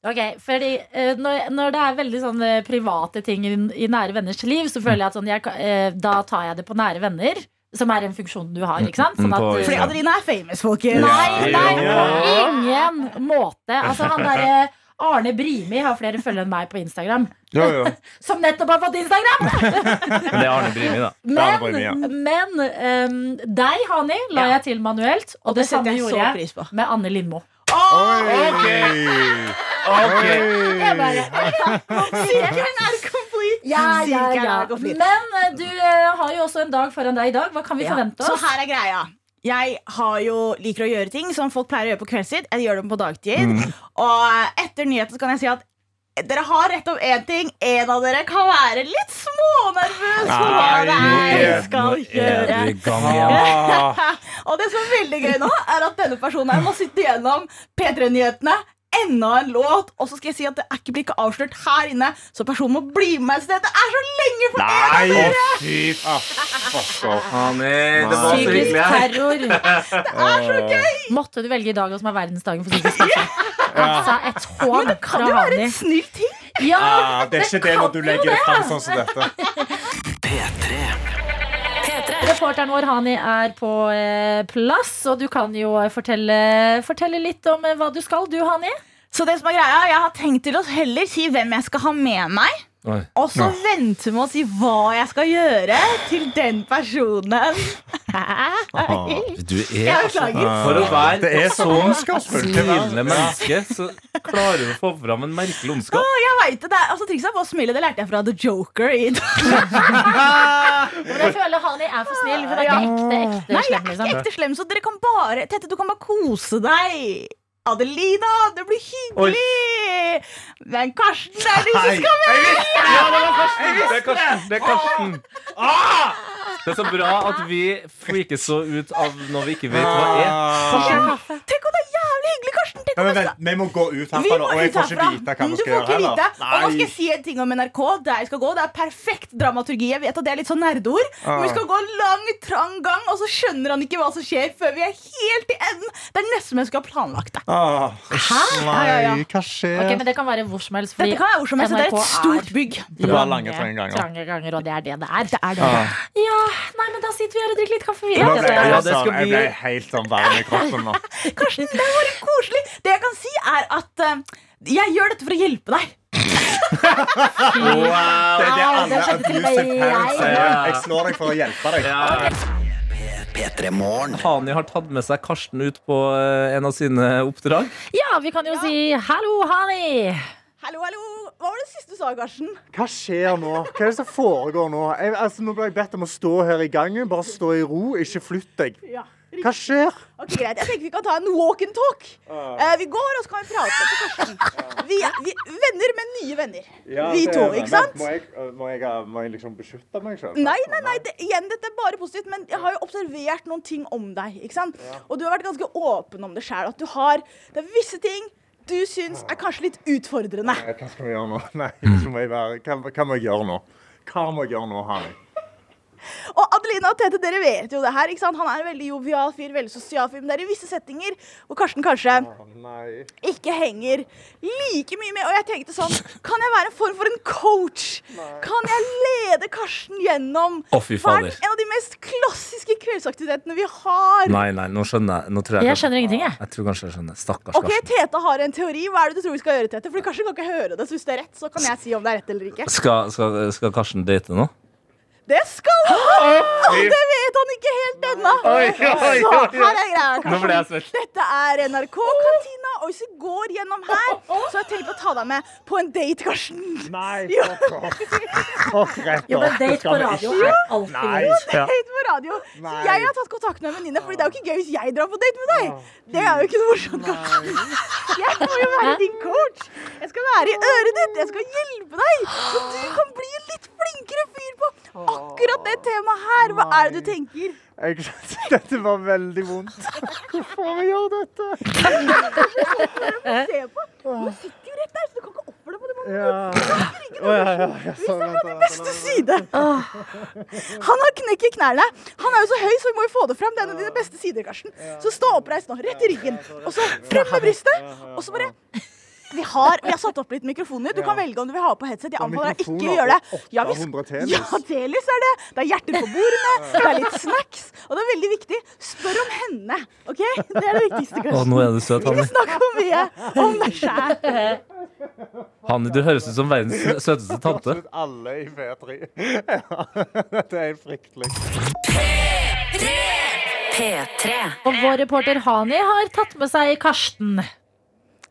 Ok, fordi eh, når, når det er veldig sånn eh, private ting i, i nære venners liv, så føler jeg at sånn, jeg, kan- eh, da tar jeg det på nære venner. Som er en funksjon du har. ikke sant?
Mm,
Sånn at,
på- Fordi Adelina er famous, folkens.
Nei, nei, på
Ja.
ingen måte. Altså, han derre Arne Brimi har flere følgere enn meg på Instagram.
Jo, jo.
Som nettopp har fått Instagram!
Men det er Arne Brimi, da.
Men, men ehm, deg, Hani, la jeg til manuelt. Og,
Og
det,
det setter
samme
jeg så
gjorde jeg
pris på.
med Anne Lindmo.
Ok.
Jeg bare,
Sirkelen er complete!
Ja, ja,
Sirkelen
ja.
er complete.
Men eh, du eh, har jo også en dag foran deg i dag. Hva kan vi
Ja.
forvente
Så
oss?
her er greia. Jeg har jo, liker å gjøre ting som folk pleier å gjøre på kveldstid. Jeg gjør dem på dagtid.
Mm.
Og etter nyheten så kan jeg si at dere har rett om én ting. En av dere kan være litt smånervøs for hva det er jeg skal gjøre.
du i gang igjen.
og det som er veldig gøy nå, er at denne personen her må sitte gjennom P3-nyhetene. Enda en låt, og så skal jeg si at det er ikke blir ikke avslørt her inne. Så personen må bli med et sted. Det er så lenge for en av
Nei!
dere!
Fy faen. Det var så
Psykisk
hyggelig her.
terror. Det
er så gøy!
Måtte du velge i dag, som er verdensdagen for psykisk terror.
Ja.
Altså, et hån
Men det kan jo være en snill ting.
Ja,
Ah, det er ikke det når du legger det fram sånn som dette.
Reporteren vår Hani er på eh, plass, og du kan jo eh, fortelle, fortelle litt om eh, hva du skal, du Hani.
Så det som er greia, jeg har tenkt til å heller si hvem jeg skal ha med meg. Og så vente med å si hva jeg skal gjøre til den personen.
Du er
Jeg
altså,
beklager.
For å være
Det er så
så
ondskapsfullt.
smilende menneske, så klarer du å få fram en merkelig ondskap.
Å, jeg vet det. det er, altså, trikset er bare å smile. Det lærte jeg fra The Joker. I
Men jeg føler Hani er for snill. Hun er
Ja.
ikke ekte, ekte
Nei, jeg
slem.
er
Liksom.
ikke ekte slem, så dere kan bare Tette, du kan bare kose deg. Adelina, det blir hyggelig. Men Karsten, det er liksom du som
Hei.
skal med!
Jeg visste det! Ja, det var Karsten. Det er Karsten. Det er Karsten.
Ah!
Det er så bra at vi freakes så ut av når vi ikke vet hva er. Karsten.
Tenk om det er jævlig hyggelig, Karsten! Tenk
Ah. Nei,
om
men
det
vent, vi må gå ut
Vi
herfra nå,
må
og jeg
ut
får ikke
herfra.
vite hva
Du
vi
får
skal gjøre
ikke vite. Og nå skal jeg
heller.
si en ting om NRK. Der jeg skal gå, Det er perfekt dramaturgi. Jeg vet at det er litt sånn nerdeord. Men
Ah.
vi skal gå en lang, trang gang, og så skjønner han ikke hva som skjer før vi er helt i enden. Det er nesten som jeg skulle ha planlagt det. Ja, ja, ja.
Ah. Nei, hva skjer?
Ok, men det kan være hvor som helst. fordi
Dette kan være hvor som helst. Det er
NRK
et stort bygg.
Det er bare lange, trange ganger.
trange ganger, og det er det det er.
Ah.
Ja, nei, men da sitter vi her og drikker litt kaffe. Vi.
Nå ble jeg,
Ja, det
sånn,
skal
jeg
bli-
ble helt sånn varm i kroppen nå.
Karsten, det var bare koselig. Det jeg kan si, er at eh, jeg gjør dette for å hjelpe deg.
Wow. Det er det
Wow,
alle
det skjedde til og med
abusive
jeg.
parents sier.
Ja.
Jeg slår deg for å hjelpe deg.
Hani har tatt med seg Karsten ut på eh, en av sine oppdrag.
Ja, vi kan jo si hallo, Hani!
Hallo, hallo! Hva var det siste du sa, Karsten?
Hva skjer nå? Hva er det som foregår nå? Jeg, altså, nå ble jeg bedt om å stå her i gangen. Bare stå i ro, ikke flytt deg. Hva skjer?
Ok, greit. Jeg tenker vi kan ta en walk and talk.
Ah.
Eh, vi går, og så kan vi prate til Karsten. Vi er vi, er venner, men nye venner. vi to, ikke sant?
Må jeg, øh, må jeg, må jeg liksom beskytte meg sjøl?
Nei, nei, nei, det, igjen, dette er bare positivt, men jeg har jo observert noen ting om deg. ikke sant? Og du har vært ganske åpen om det sjøl. At du har Det er visse ting du syns er kanskje litt utfordrende.
Hva skal vi gjøre nå? Nei, så må jeg være, hva, hva må jeg gjøre nå? Hva må jeg gjøre nå, Hani?
Og Adelina og Tete, dere vet jo det her. ikke sant? Han er en veldig jovial fyr, veldig sosial fyr. Men det er i visse settinger hvor Karsten kanskje
Nei.
ikke henger like mye med. Og jeg tenkte sånn Kan jeg være en form for en coach? Kan jeg lede Karsten gjennom
Å, fy
for han er
fader.
en av de mest klassiske kveldsaktivitetene vi har?
Nei, nei, nå skjønner jeg. Nå tror jeg,
Jeg skjønner ingenting, jeg.
Jeg tror kanskje jeg skjønner. Stakkars
OK,
Karsten.
Tete har en teori. Hva er det du tror vi skal gjøre, Tete? Fordi Karsten kan ikke høre det, så hvis det er rett, så kan jeg si om det er rett eller ikke.
Skal, skal, skal Karsten date nå?
Det skal han! Og det vet han ikke helt ennå.
Oi, oi,
Så
oi.
her er greia,
Nå ble jeg
Karsten.
svett.
Dette er NRK-kantina, og hvis vi går gjennom her, så har jeg tenkt å ta deg med på en date, Karsten.
Nei,
jo.
Jo, men date på radio er alltid
Jo,
lurt.
det er date på radio. Så
Nei.
jeg har tatt kontakt med en venninne, Fordi det er jo ikke gøy hvis jeg drar på date med deg. Det er jo ikke noe morsomt, Karsten. Jeg må jo være din coach. Jeg skal være i øret ditt. Jeg skal hjelpe deg. Så du kan bli en litt flinkere fyr på akkurat det temaet her. Hva er det du tenker?
Jeg, dette var veldig vondt. Hvorfor må vi gjøre dette?
Se på. Nå sitter jo rett der, så du kan ikke oppføre deg på den måten.
Ja. Å, ja, ja, ja, så, vent, da.
Beste side. Åh. Han har knekk i knærne. Han er jo så høy, så vi må jo få det fram. Det er en av dine beste sider, Karsten. Så stå oppreist nå. Rett i ryggen. Og så frem med brystet. Og så bare vi har, vi har satt opp litt mikrofoner. Du kan velge om du vil ha på headset. Jeg anbefaler deg ikke å gjøre det. Ja, vi
Mikrofoner og 800 telys.
ja, telys er det. Det er hjerter på bordene. Det er litt snacks. Og det er veldig viktig. Spør om henne. OK? Det er det viktigste, Karsten.
Å, nå er du søt, Hanni.
Ikke snakk for mye om deg sjæl.
Hanni, du høres ut som verdens søteste tante.
Absolutt alle i V3. Ja, dette er fryktelig.
P3.
Og vår reporter Hani har tatt med seg Karsten.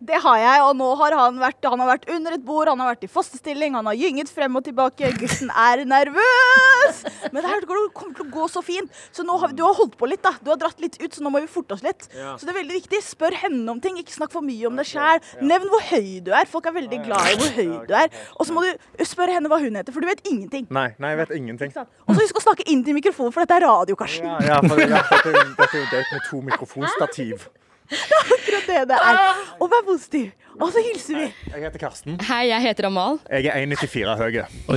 Det har jeg, og nå har han vært, han har vært under et bord, han har vært i fosterstilling, han har gynget frem og tilbake. Gutten er nervøs! Men det her går- kommer til å gå så fint. Så nå har, vi- du har holdt på litt, da. Du har dratt litt ut, så nå må vi forte oss litt.
Ja.
Så det er veldig viktig. Spør henne om ting. Ikke snakk for mye om deg sjæl. Nevn hvor høy du er. Folk er veldig glad i hvor høy du er. Og så må du spørre henne hva hun heter, for du vet ingenting.
Nei, nei, jeg vet ingenting.
Og så husk å snakke inn til mikrofonen, for dette er radio, Karsten.
Mm. Ja, for det, dette, er jo- dette er jo date med to mikrofonstativ.
Akkurat det det er.
Ah!
Og vær positiv. Og så hilser vi.
Jeg heter Karsten.
Hei, jeg heter Amal.
Jeg er 1,94 høy.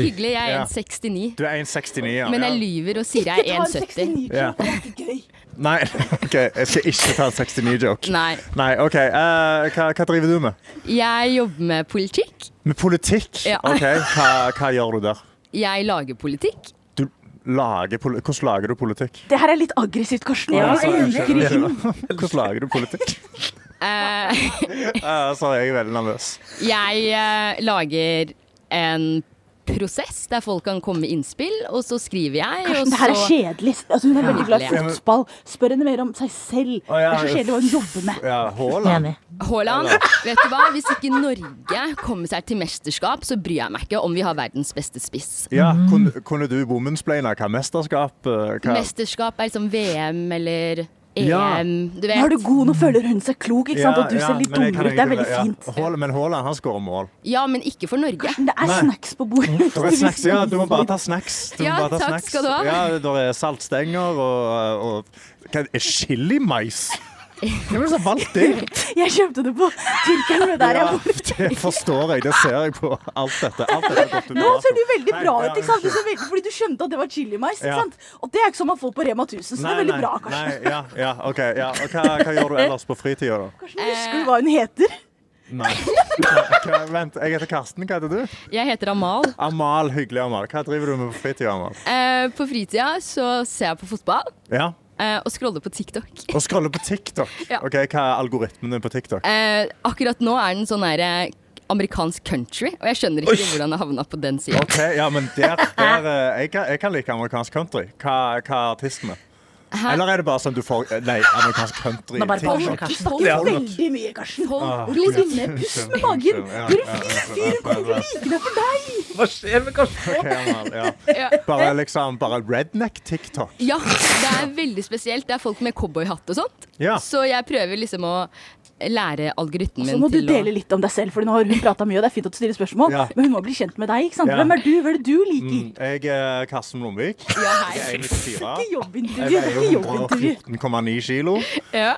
Hyggelig, jeg er 1,69.
Du er 1,69, ja.
Men jeg lyver og sier jeg
Ikke
er
ta en
1,70.
Ja. Nei, ok, jeg skal ikke ta en 69-joke.
Nei.
OK. eh, hva, hva driver du med?
Jeg jobber med politikk.
Med politikk?
Ja.
Ok, hva, hva gjør du der?
Jeg lager politikk.
Du lager poli Hvordan lager du politikk?
Det her er litt aggressivt, Karsten.
Altså,
Jeg
unnskyld.
elsker ikke
Hvordan lager du politikk?
Eh,
Eh, så er jeg veldig nervøs.
jeg eh, lager en prosess der folk kan komme med innspill, og så skriver jeg. og
Karsten, det her er
så-
kjedelig. Altså, hun er veldig glad i
Ja.
fotball. Spør henne mer om seg selv. Det er så kjedelig hva hun jobber med.
Ja, Haaland.
Haaland,
Eller?
vet du hva? Hvis ikke Norge kommer seg til mesterskap, så bryr jeg meg ikke om vi har verdens beste spiss.
Ja, kunne, kunne du bomullsplaina hva mesterskap eh, hva?
Mesterskap er liksom VM eller EM,
Ja.
du vet.
Nå er du god, nå føler hun seg klok, ikke sant?
Ja,
og du
ja,
ser litt
men jeg
dummere
kan
ut. Det er
egentlig-
veldig
ja.
fint.
Haaland- men Haaland, han skårer mål.
Ja, men ikke for Norge.
Det er
Nei.
snacks på bordet.
Det er snacks, ja, du må bare ta snacks. Du må
Ja,
bare ta
takk
snacks.
skal du ha.
Ja, det er saltstenger og, og hva, er chilimais. Hvem er det som har valgt det?
Jeg kjøpte det på Tyrkeren ved der jeg bor.
det forstår jeg. Det ser jeg på alt dette. Alt dette er gått ut
Nå
på dato.
ser du veldig bra
Nei, ja,
ut, ikke sant? Du ser veldig, fordi du skjønte at det var chilimais.
Ja.
ikke sant? Og det er ikke som man får på Rema 1000, så det er
Nei,
veldig
nei,
bra, Karsten.
Nei, ja, ja, ok, ja. Og hva, hva gjør du ellers på fritida, da?
Karsten, Husker du hva hun heter?
Nei. Hva, vent, jeg heter Karsten. Hva heter du?
Jeg heter Amal.
Amal. Hyggelig, Amal. Hva driver du med på fritida, Amal?
Eh, på fritida så ser jeg på fotball
Ja.
eh, og scroller på TikTok.
Og scroller på TikTok.
Ja.
Ok, Hva er algoritmene på TikTok?
Eh, akkurat nå er den sånn herre amerikansk country, og jeg skjønner ikke hvordan jeg havna på den siden
Ok, ja, men der, der, eh, jeg, kan, jeg kan like amerikansk country. Hva, hva er artistene?
Hæ?
Eller er det bare sånn du får Nei, amerikansk country.
Nå bare
ting. Sånn.
folk, du snakker
Ja.
veldig mye, Karsten.
Ah,
Du er inne, pust med magen.
Ja,
Du er
ja,
en
ja.
fin fyr, hun kommer til å like deg for deg.
Hva skjer med Karsten?
Ok, Amal,
Ja.
ja. Bare liksom bare redneck-TikTok.
Ja, det er veldig spesielt. Det er folk med cowboyhatt og sånt.
Ja.
Så jeg prøver liksom å lære algoritmen
Så må du
til
dele litt om deg selv, for nå har hun prata mye, og det er fint at du stiller spørsmål,
Ja.
men hun må bli kjent med deg. ikke sant?
Ja.
Hvem er du? Hva er det du liker?
Mm, Jeg er Karsten Blomvik.
hei.
Jeg er 94.
Ikke jobbintervju,
Jeg
det
veier
er ikke jobbintervju.
114,9 kilo.
Ja.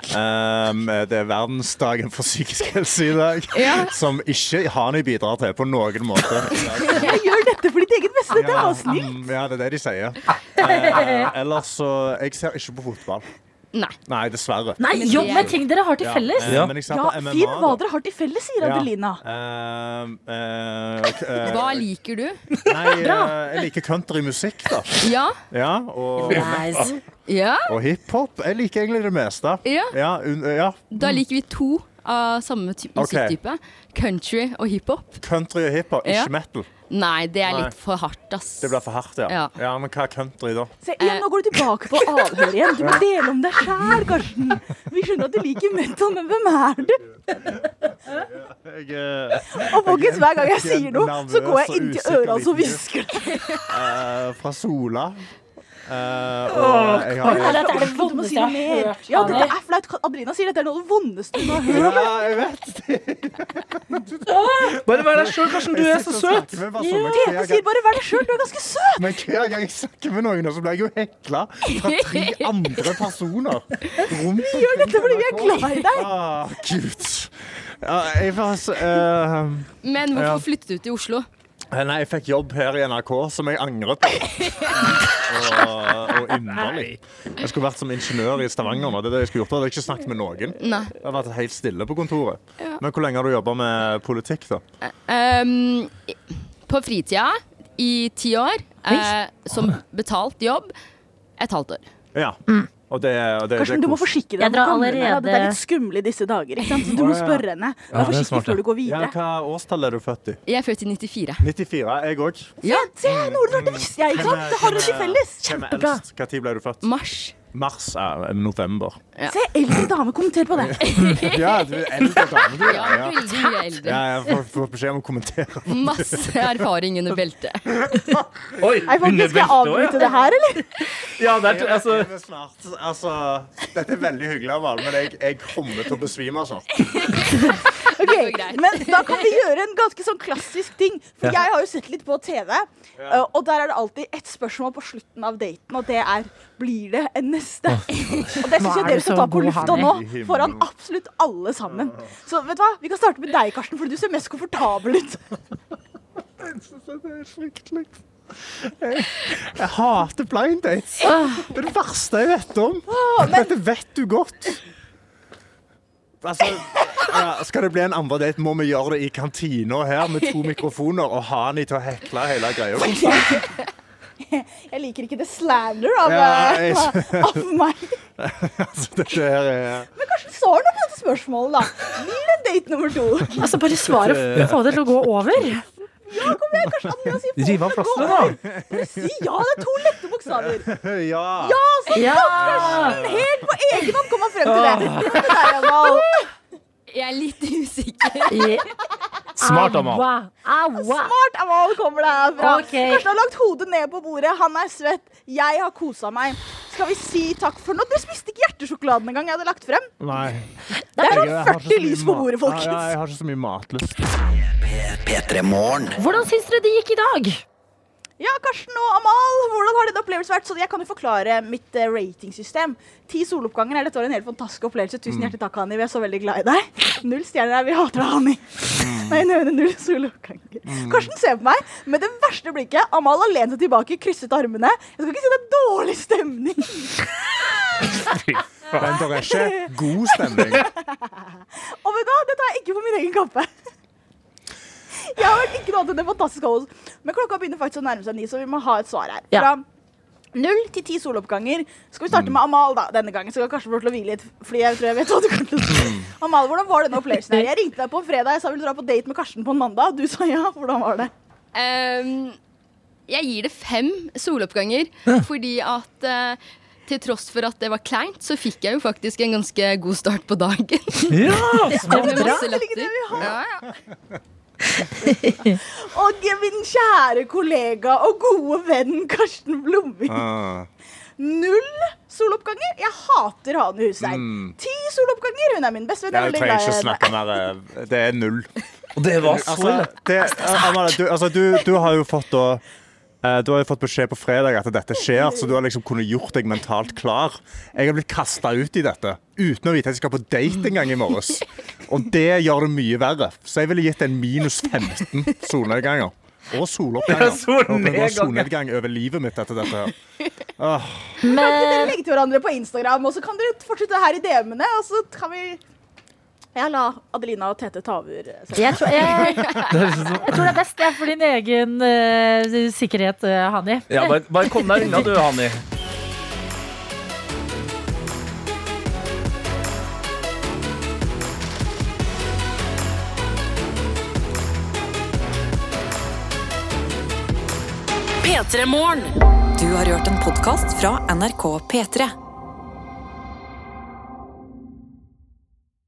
Um, det er verdensdagen for psykisk helse i dag,
Ja.
som ikke Hani bidrar til på noen måte.
Jeg gjør dette for ditt eget beste. Dette er
Ja,
avsnitt.
mm, ja, det er det de sier. Eh, ellers så Jeg ser ikke på fotball.
Nei.
Nei, dessverre.
Nei, jobb med ting dere har til
Ja,
felles!
eh, men jeg ser på MMA,
Finn hva
da.
dere har til felles, sier
Ja.
Adelina.
Um, eh, ok, eh,
Hva liker du?
Nei, eh, jeg liker countrymusikk, da.
Ja.
Ja, og
Nice. Ja.
og hiphop. Jeg liker egentlig det meste.
Ja.
un- ja.
Da liker vi to av samme ty
Mm. Ok.
musikktype. Country og hiphop.
Country og hiphop, ikke
Ja.
metal.
Nei, det er
Nei.
litt for hardt, ass.
Det blir for hardt, ja.
Ja.
Men hva er country, da?
Se, igjen, Nå går du tilbake på avhør igjen. Du må
Ja.
dele om deg sjæl, Karsten. Vi skjønner at du liker metal, men hvem er du?
Jeg, eh,
Og folkens, hver gang jeg
jeg er
sier noe, så går jeg inn til
nervøs og
øra hans og
usikker
hvisker det.
eh, fra Sola. Eh,
Åh,
og jeg
Karsten,
har
dette er det
Du må si
vondeste
noe
jeg
mer.
har hørt. Ja, dette er flaut. Adelina sier dette er noe av det vondeste hun har hørt.
Ja, jeg vet.
Bare vær deg sjøl, Karsten. Du
Jeg
er så
sitter og
søt.
snakker med bare sånne
Tete
hver gang-
sier bare 'vær deg sjøl', du er ganske søt.
Men hver gang jeg snakker med noen, så blir jeg jo hekla fra tre andre personer. Rundt
Vi gjør dette fordi vi er glad i deg.
ah, Gud. Ja, jeg var så eh,
Men hvorfor
Ja.
flyttet du til Oslo?
Eh, Nei, jeg fikk jobb her i NRK, som jeg angret på. Og, og inderlig. Jeg skulle vært som ingeniør i Stavanger nå. Det er det jeg skulle gjort. Da hadde jeg ikke snakket med noen.
Nei.
Jeg har vært helt stille på kontoret.
Ja.
Men hvor lenge har du jobba med politikk, da?
Um, i- på fritida i ti år, eh, som betalt jobb, et halvt år.
Ja. Og det, og det,
Karsten,
det
Mm. du
er
må
kos-
forsikre deg.
Jeg drar
om gamle-
allerede-
Dette er litt skumle i disse dager. Ikke sant? Så Du
Å,
må
ja.
spørre henne.
Ja,
Vær
det er
forsiktig
smart, ja.
før du går
Ja,
videre.
hva årstall er du født i?
Jeg er født i 94.
94. Jeg òg.
Ja.
Se, noe av det visste jeg, ikke sant? Det har hun til felles. Kjempebra.
Når ble du født?
Mars.
Mars er november.
Se, eldre dame kommenterer på det.
Ja, du er eldre dame, du.
Ja, veldig mye eldre.
Ja, jeg får, får beskjed om å kommentere.
Masse erfaring under beltet.
Oi,
Nei, faktisk, skal jeg avbryte det her, eller?
Ja, det er,
Jeg
altså,
lever snart. Altså, dette er veldig hyggelig av alle, men jeg, jeg kommer til å besvime altså. snart.
Ok, Men da kan vi gjøre en ganske sånn klassisk ting. For
Ja.
jeg har jo sett litt på TV,
Ja.
og der er det alltid ett spørsmål på slutten av daten, og det er Blir det en neste? Og det syns
Hva
jeg
er du
dere
så
skal ta på
god,
lufta nå,
Hanne?
foran absolutt alle sammen. Så vet du hva, vi kan starte med deg, Karsten, for du ser mest komfortabel ut.
Det er fryktelig. Jeg, jeg hater blind dates. Det er det verste jeg vet om. Dette vet du godt. Altså, ja, skal det bli en andre date, må vi gjøre det i kantina her med to mikrofoner og ha han i til å hekle hele greia. konstant.
Jeg liker ikke det slander av,
Ja,
eh,
jeg-
av meg.
Altså, dette her er
Men Karsten, svar nå på dette spørsmålet, da. Blir det date nummer to?
Altså, bare svar og få det til å gå over.
Ja, kom igjen, Karsten. Andreas, si
Riv av plasteret, da.
Bare si ja. Det er to lette bokstaver.
Ja.
Ja, så
Ja.
takk, Karsten! Helt på egen hånd kom han frem til det. Hva med deg, Amal?
Jeg er litt usikker.
Smart, Amal.
Aua. Aua.
Smart Amal kommer det herfra.
Ok.
Karsten har lagt hodet ned på bordet. Han er svett. Jeg har kosa meg. Skal vi si takk for nå? Dere spiste ikke hjertesjokoladen engang jeg hadde lagt frem.
Nei.
Det er
Jeg
sånn
har ikke så
40
mye
lys på
mat-
bordet,
Ja, ja,
folkens.
jeg har ikke så mye matlyst.
P3-morgen.
Hvordan syns dere det gikk i dag?
Ja, Karsten og Amal, hvordan har din opplevelse vært? Så jeg kan jo forklare mitt eh, ratingsystem. Ti soloppganger er dette var en helt fantastisk opplevelse. Tusen hjertelig takk, Hani. Vi er så veldig glad i deg. Null stjerner er vi hater deg, Hani. Nei, nei, nei, null soloppganger. Karsten ser på meg med det verste blikket. Amal har lent seg tilbake, krysset armene. Jeg skal ikke si det er dårlig stemning.
Men det er ikke god stemning.
Og vet du hva, det tar jeg ikke på min egen kappe. Jeg har vært ikke noe annet enn det fantastiske av oss. Men klokka begynner faktisk å nærme seg ni, så vi må ha et svar her.
Ja.
Fra Null til ti soloppganger. Skal vi
Mm.
starte med Amal da, denne gangen? Så kan Karsten få lov til å hvile litt. Fordi jeg tror jeg vet hva du kommer til å si.
Mm.
Amal, hvordan var denne opplevelsen? her? Jeg ringte deg på en fredag, jeg sa vil du dra på date med Karsten på en mandag. Du sa ja. Hvordan var det?
Ehm, jeg gir det fem soloppganger, fordi at eh, til tross for at det var kleint, så fikk jeg jo faktisk en ganske god start på dagen.
Ja, smart.
Med masse
Bra.
latter. Ja, ja.
Og min kjære kollega og gode venn Karsten Blomvik.
Ah.
Null soloppganger. Jeg hater Hane Hussein.
Mm.
Ti soloppganger. Hun er min beste venn. Jeg er
Jeg
veldig
trenger
glad i
ikke
henne.
snakke mer. eh, Det er null.
Og det var så
altså,
lett.
det, Amanda, du, altså, du, du har jo fått da eh, du har jo fått beskjed på fredag at dette skjer, så du har liksom kunnet gjort deg mentalt klar. Jeg har blitt kasta ut i dette uten å vite at jeg skal på date en gang i morges. Og det gjør det mye verre. Så jeg ville gitt en minus 15 solnedganger. Og
Ja,
soloppganger.
solnedganger.
Og det var solnedgang over livet mitt etter dette. her. Åh.
Men... Dere kan legge til hverandre på Instagram, og så kan dere fortsette her i DM-ene. Og så kan vi Ja, la Adelina og Tete ta over. eh, selv.
Jeg tror, jeg, jeg tror det er liksom best det er for din egen eh, sikkerhet, eh, Hani.
Ja, bare, bare kom deg unna, du, Hanni.
P3 Morgen.
Du har hørt en podkast fra NRK P3.